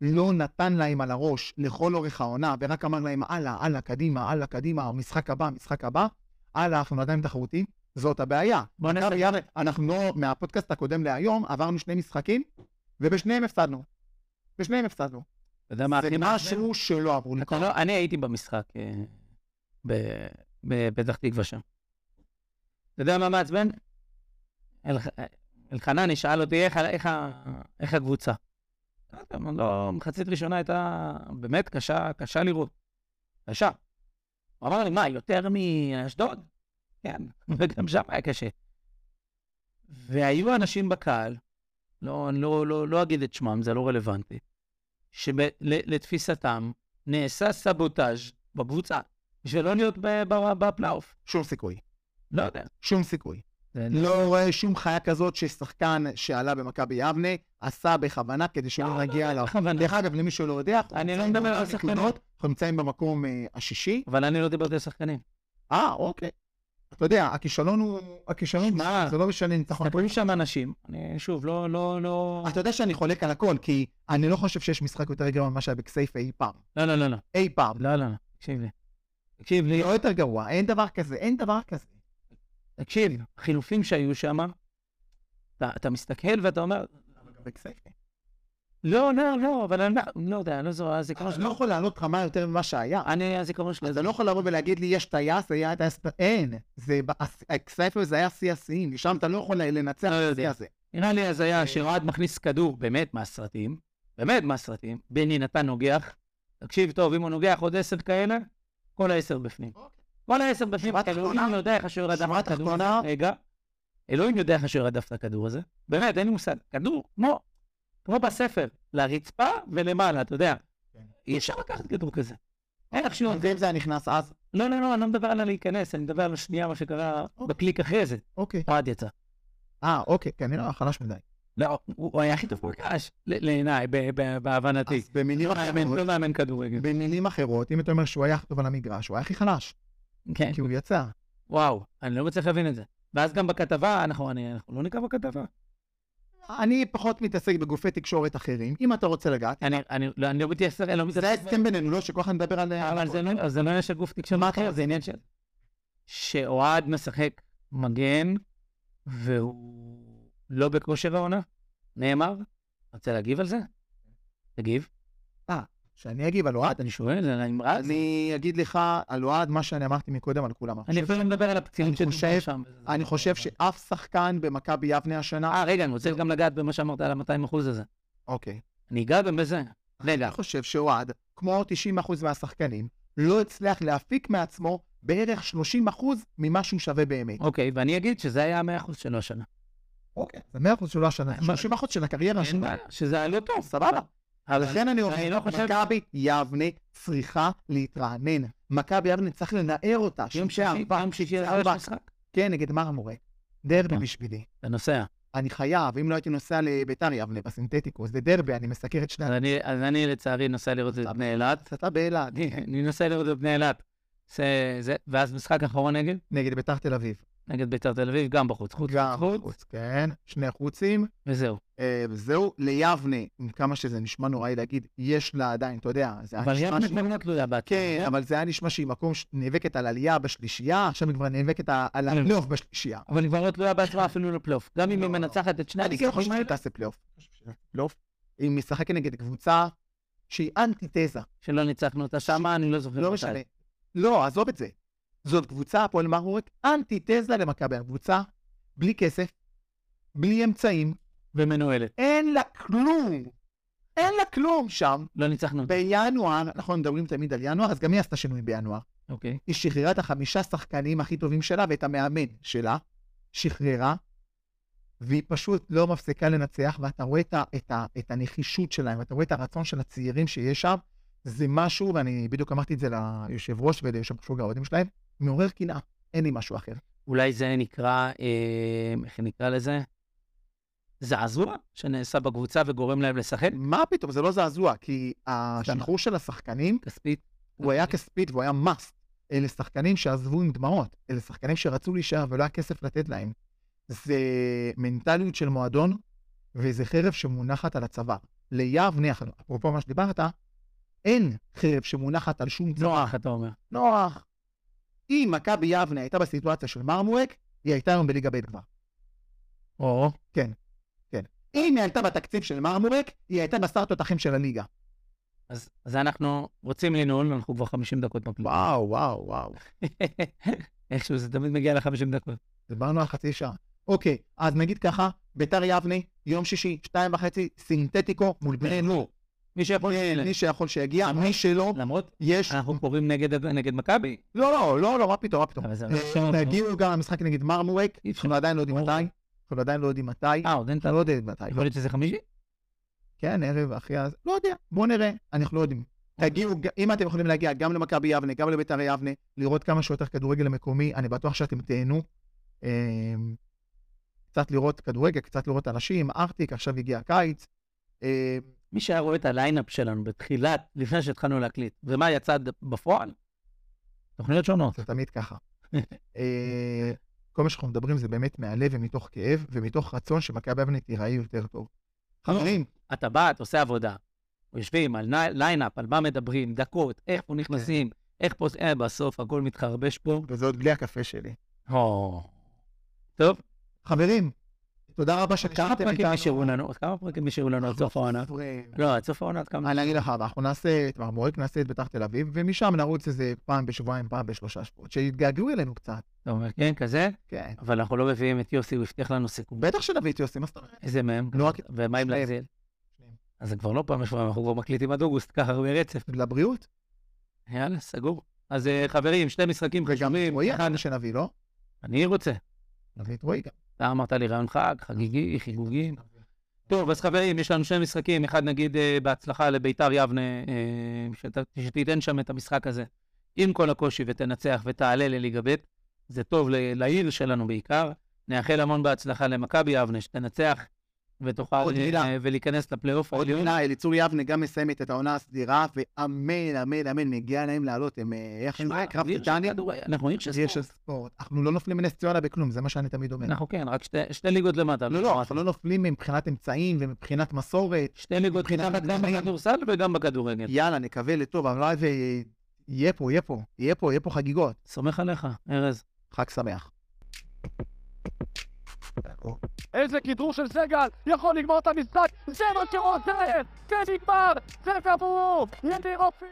A: לא נתן להם על הראש לכל אורך העונה, ורק אמר להם, הלאה, הלאה, קדימה, הלאה, קדימה, המשחק הבא, המשחק הבא, הלאה, אנחנו עדיין תחרותיים, זאת הבעיה.
C: בוא נעשה-
A: מכבי יבנה, אנחנו לא, מהפודקאסט הקודם להיום, עברנו שני משחקים, ובשניהם הפסדנו. בשניהם הפסדנו.
C: אתה יודע מה
A: זה
C: הכי מעצבן?
A: משהו שלא עברו נכון.
C: אתה לא- אני הייתי במשחק אה, ב- בפתח תקווה שם. אתה יודע מה מעצבן? אל- אלחנני שאל אותי "איך ה- איך ה- איך הקבוצה. אמרתי לו, לא, מחצית ראשונה הייתה באמת קשה, קשה לראות. קשה. הוא אמר לי, מה, יותר מאשדוד? כן, וגם שם היה קשה. והיו אנשים בקהל, לא, אני לא, לא, לא אגיד את שמם, זה לא רלוונטי, שלתפיסתם נעשה סבוטאז' בקבוצה, בשביל לא להיות ב- ב- בפלייאוף.
A: שום סיכוי.
C: לא יודע.
A: שום סיכוי.
C: זה-
A: לא רואה שום חיה כזאת ששחקן שעלה במכבי יבנה עשה בכוונה כדי שלא נגיע אליו.
C: לא, בכוונה.
A: דרך אגב, למי שלא יודע, אנחנו
C: אני לא
A: נמצאים
C: מדבר על
A: באותן
C: שחקנים.
A: נקודות, אנחנו נמצאים במקום אה, השישי.
C: אבל אני לא דיברתי על שחקנים.
A: אה, אוקיי. אתה יודע, הכישלון הוא... הכישלון,
C: שמע,
A: זה לא משנה ניצחון.
C: מדברים שם אנשים, אני שוב, לא, לא, לא...
A: אתה יודע שאני חולק על הכל, כי אני לא חושב שיש משחק יותר גרוע ממה שהיה בכסייפה אי פעם.
C: לא, לא, לא, לא,
A: אי פעם.
C: לא, לא, לא, תקשיב לי. תקשיב לי,
A: לא יותר גרוע, אין דבר כזה, אין דבר כזה.
C: תקשיב, החילופים שהיו שם, אתה, אתה מסתכל ואתה אומר,
A: בכסייפה.
C: לא, לא, לא, אבל אני לא- לא יודע, לא אה, זו הזיכרון
A: אני
C: שלי.
A: לא יכול לעלות רמה יותר ממה שהיה.
C: אני, הזיכרון שלי.
A: אז
C: זה
A: אני לא יכול לבוא ולהגיד לי, יש טייס, היה טייס, אין. זה, אה, הכסייפה זה היה שיא השיאים, שם אתה לא יכול לנצח
C: לא
A: את
C: יודע.
A: השיא הזה.
C: נראה לי הזיה שאוהד מכניס כדור, באמת מהסרטים, באמת מהסרטים, בני נתן נוגח, תקשיב טוב, אם הוא נוגח עוד עשר כאלה, כל העשר בפנים. כל העשר בפנים, כאילו,
A: שורה
C: אלוהים
A: תחתונה.
C: יודע איך השוער הדף
A: שורה
C: את הכדור הזה,
A: תחתונה.
C: רגע, אלוהים יודע איך השוער הדף את הכדור הזה, באמת, אין לי מושג, כדור, כמו, כמו בספר, לרצפה ולמעלה, אתה יודע, אי אפשר לקחת כדור כזה. איך שהוא,
A: ואם זה היה נכנס אז,
C: לא, לא, לא, אני לא מדבר על הלהיכנס, אני מדבר על השנייה, מה שקרה בקליק אחרי זה,
A: אוקיי.
C: אוהד יצא.
A: אה, אוקיי, כנראה חלש מדי.
C: לא, הוא הוא היה הכי טוב בקש, ל- לעיניי, ב- ב- בהבנתי.
A: אז אה, במילים
C: מאמן,
A: אחרות,
C: לא מאמן כדורגל.
A: במילים אחרות, אם אתה אומר שהוא היה הכי טוב על המגרש, הוא היה הכי חלש,
C: כן.
A: כי הוא יצא.
C: וואו, אני לא מצליח להבין את זה. ואז גם בכתבה, אנחנו אני- אנחנו לא ניגע בכתבה.
A: אני פחות מתעסק בגופי תקשורת אחרים, אם אתה רוצה לגעת.
C: אני אני- לא אני לא מתייחס, אני לא
A: זה
C: מתייחס.
A: ההסכם בינינו, לא שכל אחד מדבר על...
C: אבל זה לא- זה לא עניין של גוף תקשורת. מה אחר? זה עניין של... שאוהד משחק מגן, והוא לא בכושר העונה, נאמר. רוצה להגיב על זה? תגיב.
A: שאני אגיב על אוהד,
C: אני שואל, זה נאמרה?
A: אני אגיד לך על אוהד מה שאני אמרתי מקודם על כולם.
C: אני אפילו לא מדבר על הפציעים
A: אני
C: שדובר
A: חושב-
C: שם.
A: אני חושב שאף שחקן במכבי יבנה השנה...
C: אה, רגע, אני רוצה גם לגעת במה שאמרת על ה-200 אחוז הזה.
A: אוקיי.
C: אני אגע גם בזה. רגע,
A: אני חושב שאוהד, כמו 90% מהשחקנים, לא הצליח להפיק מעצמו בערך 30% ממה שהוא שווה באמת.
C: אוקיי, ואני אגיד שזה היה המאה אחוז שלו השנה.
A: אוקיי. זה 100% שלו השנה, 30% של הקריירה
C: אין
A: שלו.
C: בעיה, שזה היה לא טוב,
A: סבבה.
C: אבל
A: לכן אה, אני אומר,
C: אני לא חושב...
A: מכבי יבנה צריכה להתרענן. מכבי יבנה צריך לנער אותה.
C: יום
A: שעה,
C: שישי, פעם שישי,
A: ארבע.
C: יש משחק.
A: כן, נגד מרמורק. דרבי
C: אה.
A: בשבילי.
C: אתה נוסע.
A: אני חייב, אם לא הייתי נוסע לביתר יבנה בסינתטיקו, זה דרבי, אני מסקר את שני...
C: אז אני- אז אני לצערי נוסע לראות את בני אילת.
A: אתה באלעד,
C: אני אני נוסע לראות את בני אילת. זה- זה- ואז משחק אחרון נגד,
A: נגד ביתר תל אביב.
C: נגד ביתר תל אביב, גם בחוץ. חוץ,
A: גם
C: חוץ,
A: חוץ, כן, שני חוצים.
C: וזהו.
A: אה, וזהו, ליבנה, עם כמה שזה נשמע נוראי להגיד, יש לה עדיין, אתה יודע, זה היה
C: אבל
A: נשמע
C: יבנה אה.
A: שהיא-
C: באמת תלויה בעצמה.
A: כן, אבל זה היה נשמע שהיא מקום שנאבקת על עלייה בשלישייה, עכשיו היא כבר נאבקת על- על
C: אני-
A: הפלייאוף בשלישייה.
C: אבל היא כבר לא תלויה בעצמה אפילו לפלייאוף. גם אם
A: לא,
C: היא
A: לא.
C: מנצחת את שני
A: אני כן
C: המשחקים
A: חושב שהיא
C: האלה,
A: תעשה פלייאוף. פלייאוף. היא משחקת נגד קבוצה שהיא אנטיתזה,
C: שלא ניצחנו אותה שמה, אני לא זוכר.
A: לא
C: מתי.
A: משנה. לא, עזוב את זה. זאת קבוצה, הפועל מרמורק, אנטיתזה למכבי. הקבוצה בלי כסף, בלי אמצעים,
C: ומנוהלת.
A: אין לה כלום. אין לה כלום שם.
C: לא ניצחנו אותה.
A: בינואר, אנחנו מדברים תמיד על ינואר, אז גם היא עשתה שינוי בינואר.
C: אוקיי.
A: היא שחררה את החמישה שחקנים הכי טובים שלה ואת המאמן שלה, שחררה, והיא פשוט לא מפסיקה לנצח, ואתה רואה את, ה, את, ה, את הנחישות שלהם, ואתה רואה את הרצון של הצעירים שיש שם, זה משהו, ואני בדיוק אמרתי את זה ליושב ראש וליושב ראש האוהדים שלהם, מעורר קנאה, אין לי משהו אחר.
C: אולי זה נקרא, אה, איך נקרא לזה? זעזוע שנעשה בקבוצה וגורם להם לשחק.
A: מה פתאום, זה נכון. לא זעזוע, כי השחרור של השחקנים,
C: כספית.
A: הוא היה כספית והוא היה must. אלה שחקנים שעזבו עם דמעות, אלה שחקנים שרצו להישאר ולא היה כסף לתת להם. זה מנטליות של מועדון, וזה חרב שמונחת על הצוואר. ליבנה, אפרופו מה שדיברת, אין חרב שמונחת על שום צוואר.
C: נוח, לא, אתה אומר.
A: נוח. אם מכבי יבנה הייתה בסיטואציה של מרמורק, היא הייתה היום בליגה ב' כבר. כן,
C: או,
A: אם היא הייתה בתקציב של מרמורק, היא הייתה בשר תותחים של הליגה.
C: אז אז אנחנו רוצים לנעול, אנחנו כבר 50 דקות בפלאפ.
A: וואו, וואו, וואו.
C: איכשהו זה תמיד מגיע ל-50 דקות.
A: דיברנו על חצי שעה. אוקיי, אז נגיד ככה, ביתר יבנה, יום שישי, שתיים וחצי, סינתטיקו מול
C: כן.
A: בני נור.
C: מי שיכול...
A: מי שיכול שיגיע, מי שלא,
C: למרות,
A: יש...
C: אנחנו קוראים נגד נגד מכבי.
A: לא, לא, לא, לא, מה פתאום, מה פתאום.
C: אוקיי. אבל זה...
A: אה, תגיעו גם למשחק נגד מרמורק,
C: אי אפשר.
A: אנחנו עדיין לא יודעים
C: ברור.
A: מתי, אנחנו עדיין לא יודעים מתי,
C: אה, עוד אין את ה...
A: אנחנו לא יודעים מתי.
C: יכול להיות שזה חמישי?
A: כן, ערב אחרי אז, לא יודע, בואו נראה, אנחנו לא יודעים. תגיעו, ג- אם אתם יכולים להגיע גם למכבי יבנה, גם לביתר יבנה, לראות כמה שיותר כדורגל מקומי, אני בטוח שאתם תהנו. אמ, קצת לראות כדורגל, קצת לראות אנשים, ארטיק, עכשיו הגיע הקיץ. אמ,
C: מי שהיה רואה את הליינאפ שלנו בתחילת, לפני שהתחלנו להקליט, ומה יצא ד- בפועל? תוכניות שונות.
A: זה תמיד ככה. אה, כל מה שאנחנו מדברים זה באמת מהלב ומתוך כאב ומתוך רצון שמכבי יבנה תיראה יותר טוב. חברים,
C: אתה בא, אתה עושה עבודה, יושבים על ני- ליינאפ, על מה מדברים, דקות, איך פה נכנסים, איך פה... אה, בסוף הכל מתחרבש פה.
A: וזה עוד בלי הקפה שלי.
C: או. טוב,
A: חברים, תודה רבה
C: כמה
A: שנשארתם
C: פרקים
A: איתנו.
C: נשארו לנו? כמה פרקים נשארו
A: לא
C: לנו עד סוף העונה?
A: חברים,
C: לא, עד סוף העונה עד כמה?
A: אה, אני אגיד לך, אנחנו נעשה את מרמורק, נעשה את בית"ר תל אביב, ומשם נרוץ איזה פעם בשבועיים, פעם בשלושה שבועות, שיתגעגעו אלינו קצת.
C: אתה אומר, כן, כזה,
A: כן.
C: אבל אנחנו לא מביאים את יוסי, הוא הבטיח לנו סיכום.
A: בטח שנביא את יוסי, מה זאת אומרת?
C: איזה מהם?
A: לא רק
C: ומה עם
A: שניהם.
C: להחזיר?
A: שניהם.
C: אז זה כבר לא פעם בשבועיים, אנחנו כבר מקליטים עד אוגוסט, ככה ברצף.
A: לבריאות?
C: יאללה, סגור. אז אה, חברים, שני משחקים
A: וגם
C: חשובים.
A: רועי
C: אחד-
A: אמרנו שנביא, לא?
C: אני רוצה.
A: נביא את רועי גם.
C: אתה אמרת לי רעיון חג, חגיגי, חיגוגי. טוב, אז חברים, יש לנו שני משחקים, אחד נגיד אה, בהצלחה לביתר יבנה, אה, שת- שתיתן שם את המשחק הזה עם כל הקושי ותנצח ותעלה לליגה ב', זה טוב ל- לעיר שלנו בעיקר. נאחל המון בהצלחה למכבי יבנה, שתנצח ותוכל
A: עוד
C: אה,
A: מילה.
C: אה, ולהיכנס לפלייאוף
A: עוד
C: העליון.
A: מילה, אליצור יבנה גם מסיימת את העונה הסדירה, ואמן, אמן, אמן, מגיע להם לעלות, הם אה, איך
C: שמע,
A: שזה נקרא,
C: עיר של
A: פיטניה?
C: כדורגל, אנחנו עיר של
A: עיר של
C: ספורט.
A: ספורט. אנחנו לא נופלים מנס ציונה בכלום, זה מה שאני תמיד אומר.
C: אנחנו כן, רק שתי- שתי ליגות למטה.
A: לא, לא, אנחנו לא נופלים מבחינת אמצעים ומבחינת מסורת.
C: שתי ליגות
A: מבחינת
C: מתחת גם
A: הגדולים.
C: בכדורסל וגם בכדורגל.
A: יאללה, נקווה לטוב, אבל אולי זה- יהיה פה, יהיה פה, יהיה פה, יהיה פה חגיגות.
C: סומך עליך, ארז.
A: חג שמח.
B: איזה כדרור של סגל, יכול לגמור את המשחק, זה מה שרוצה, זה נגמר, זה גמור, ידי רופי,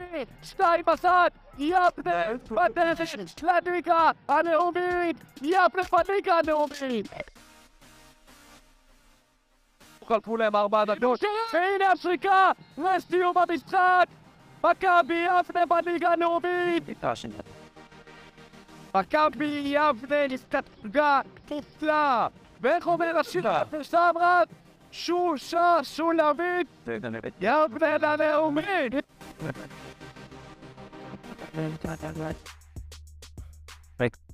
B: שתיים בסד, יבנה, בדרך, לליגה הלאומית, יבנה בליגה הלאומית. חלפו להם ארבע דקות, והנה השריקה לסיום המשחק! מכבי יבנה בליגה הלאומית! מכבי יבנה הסתפגה כפלה! ואיך אומר השירה? סמרת שושה שולמית! יבנה הלאומית!
C: Thanks.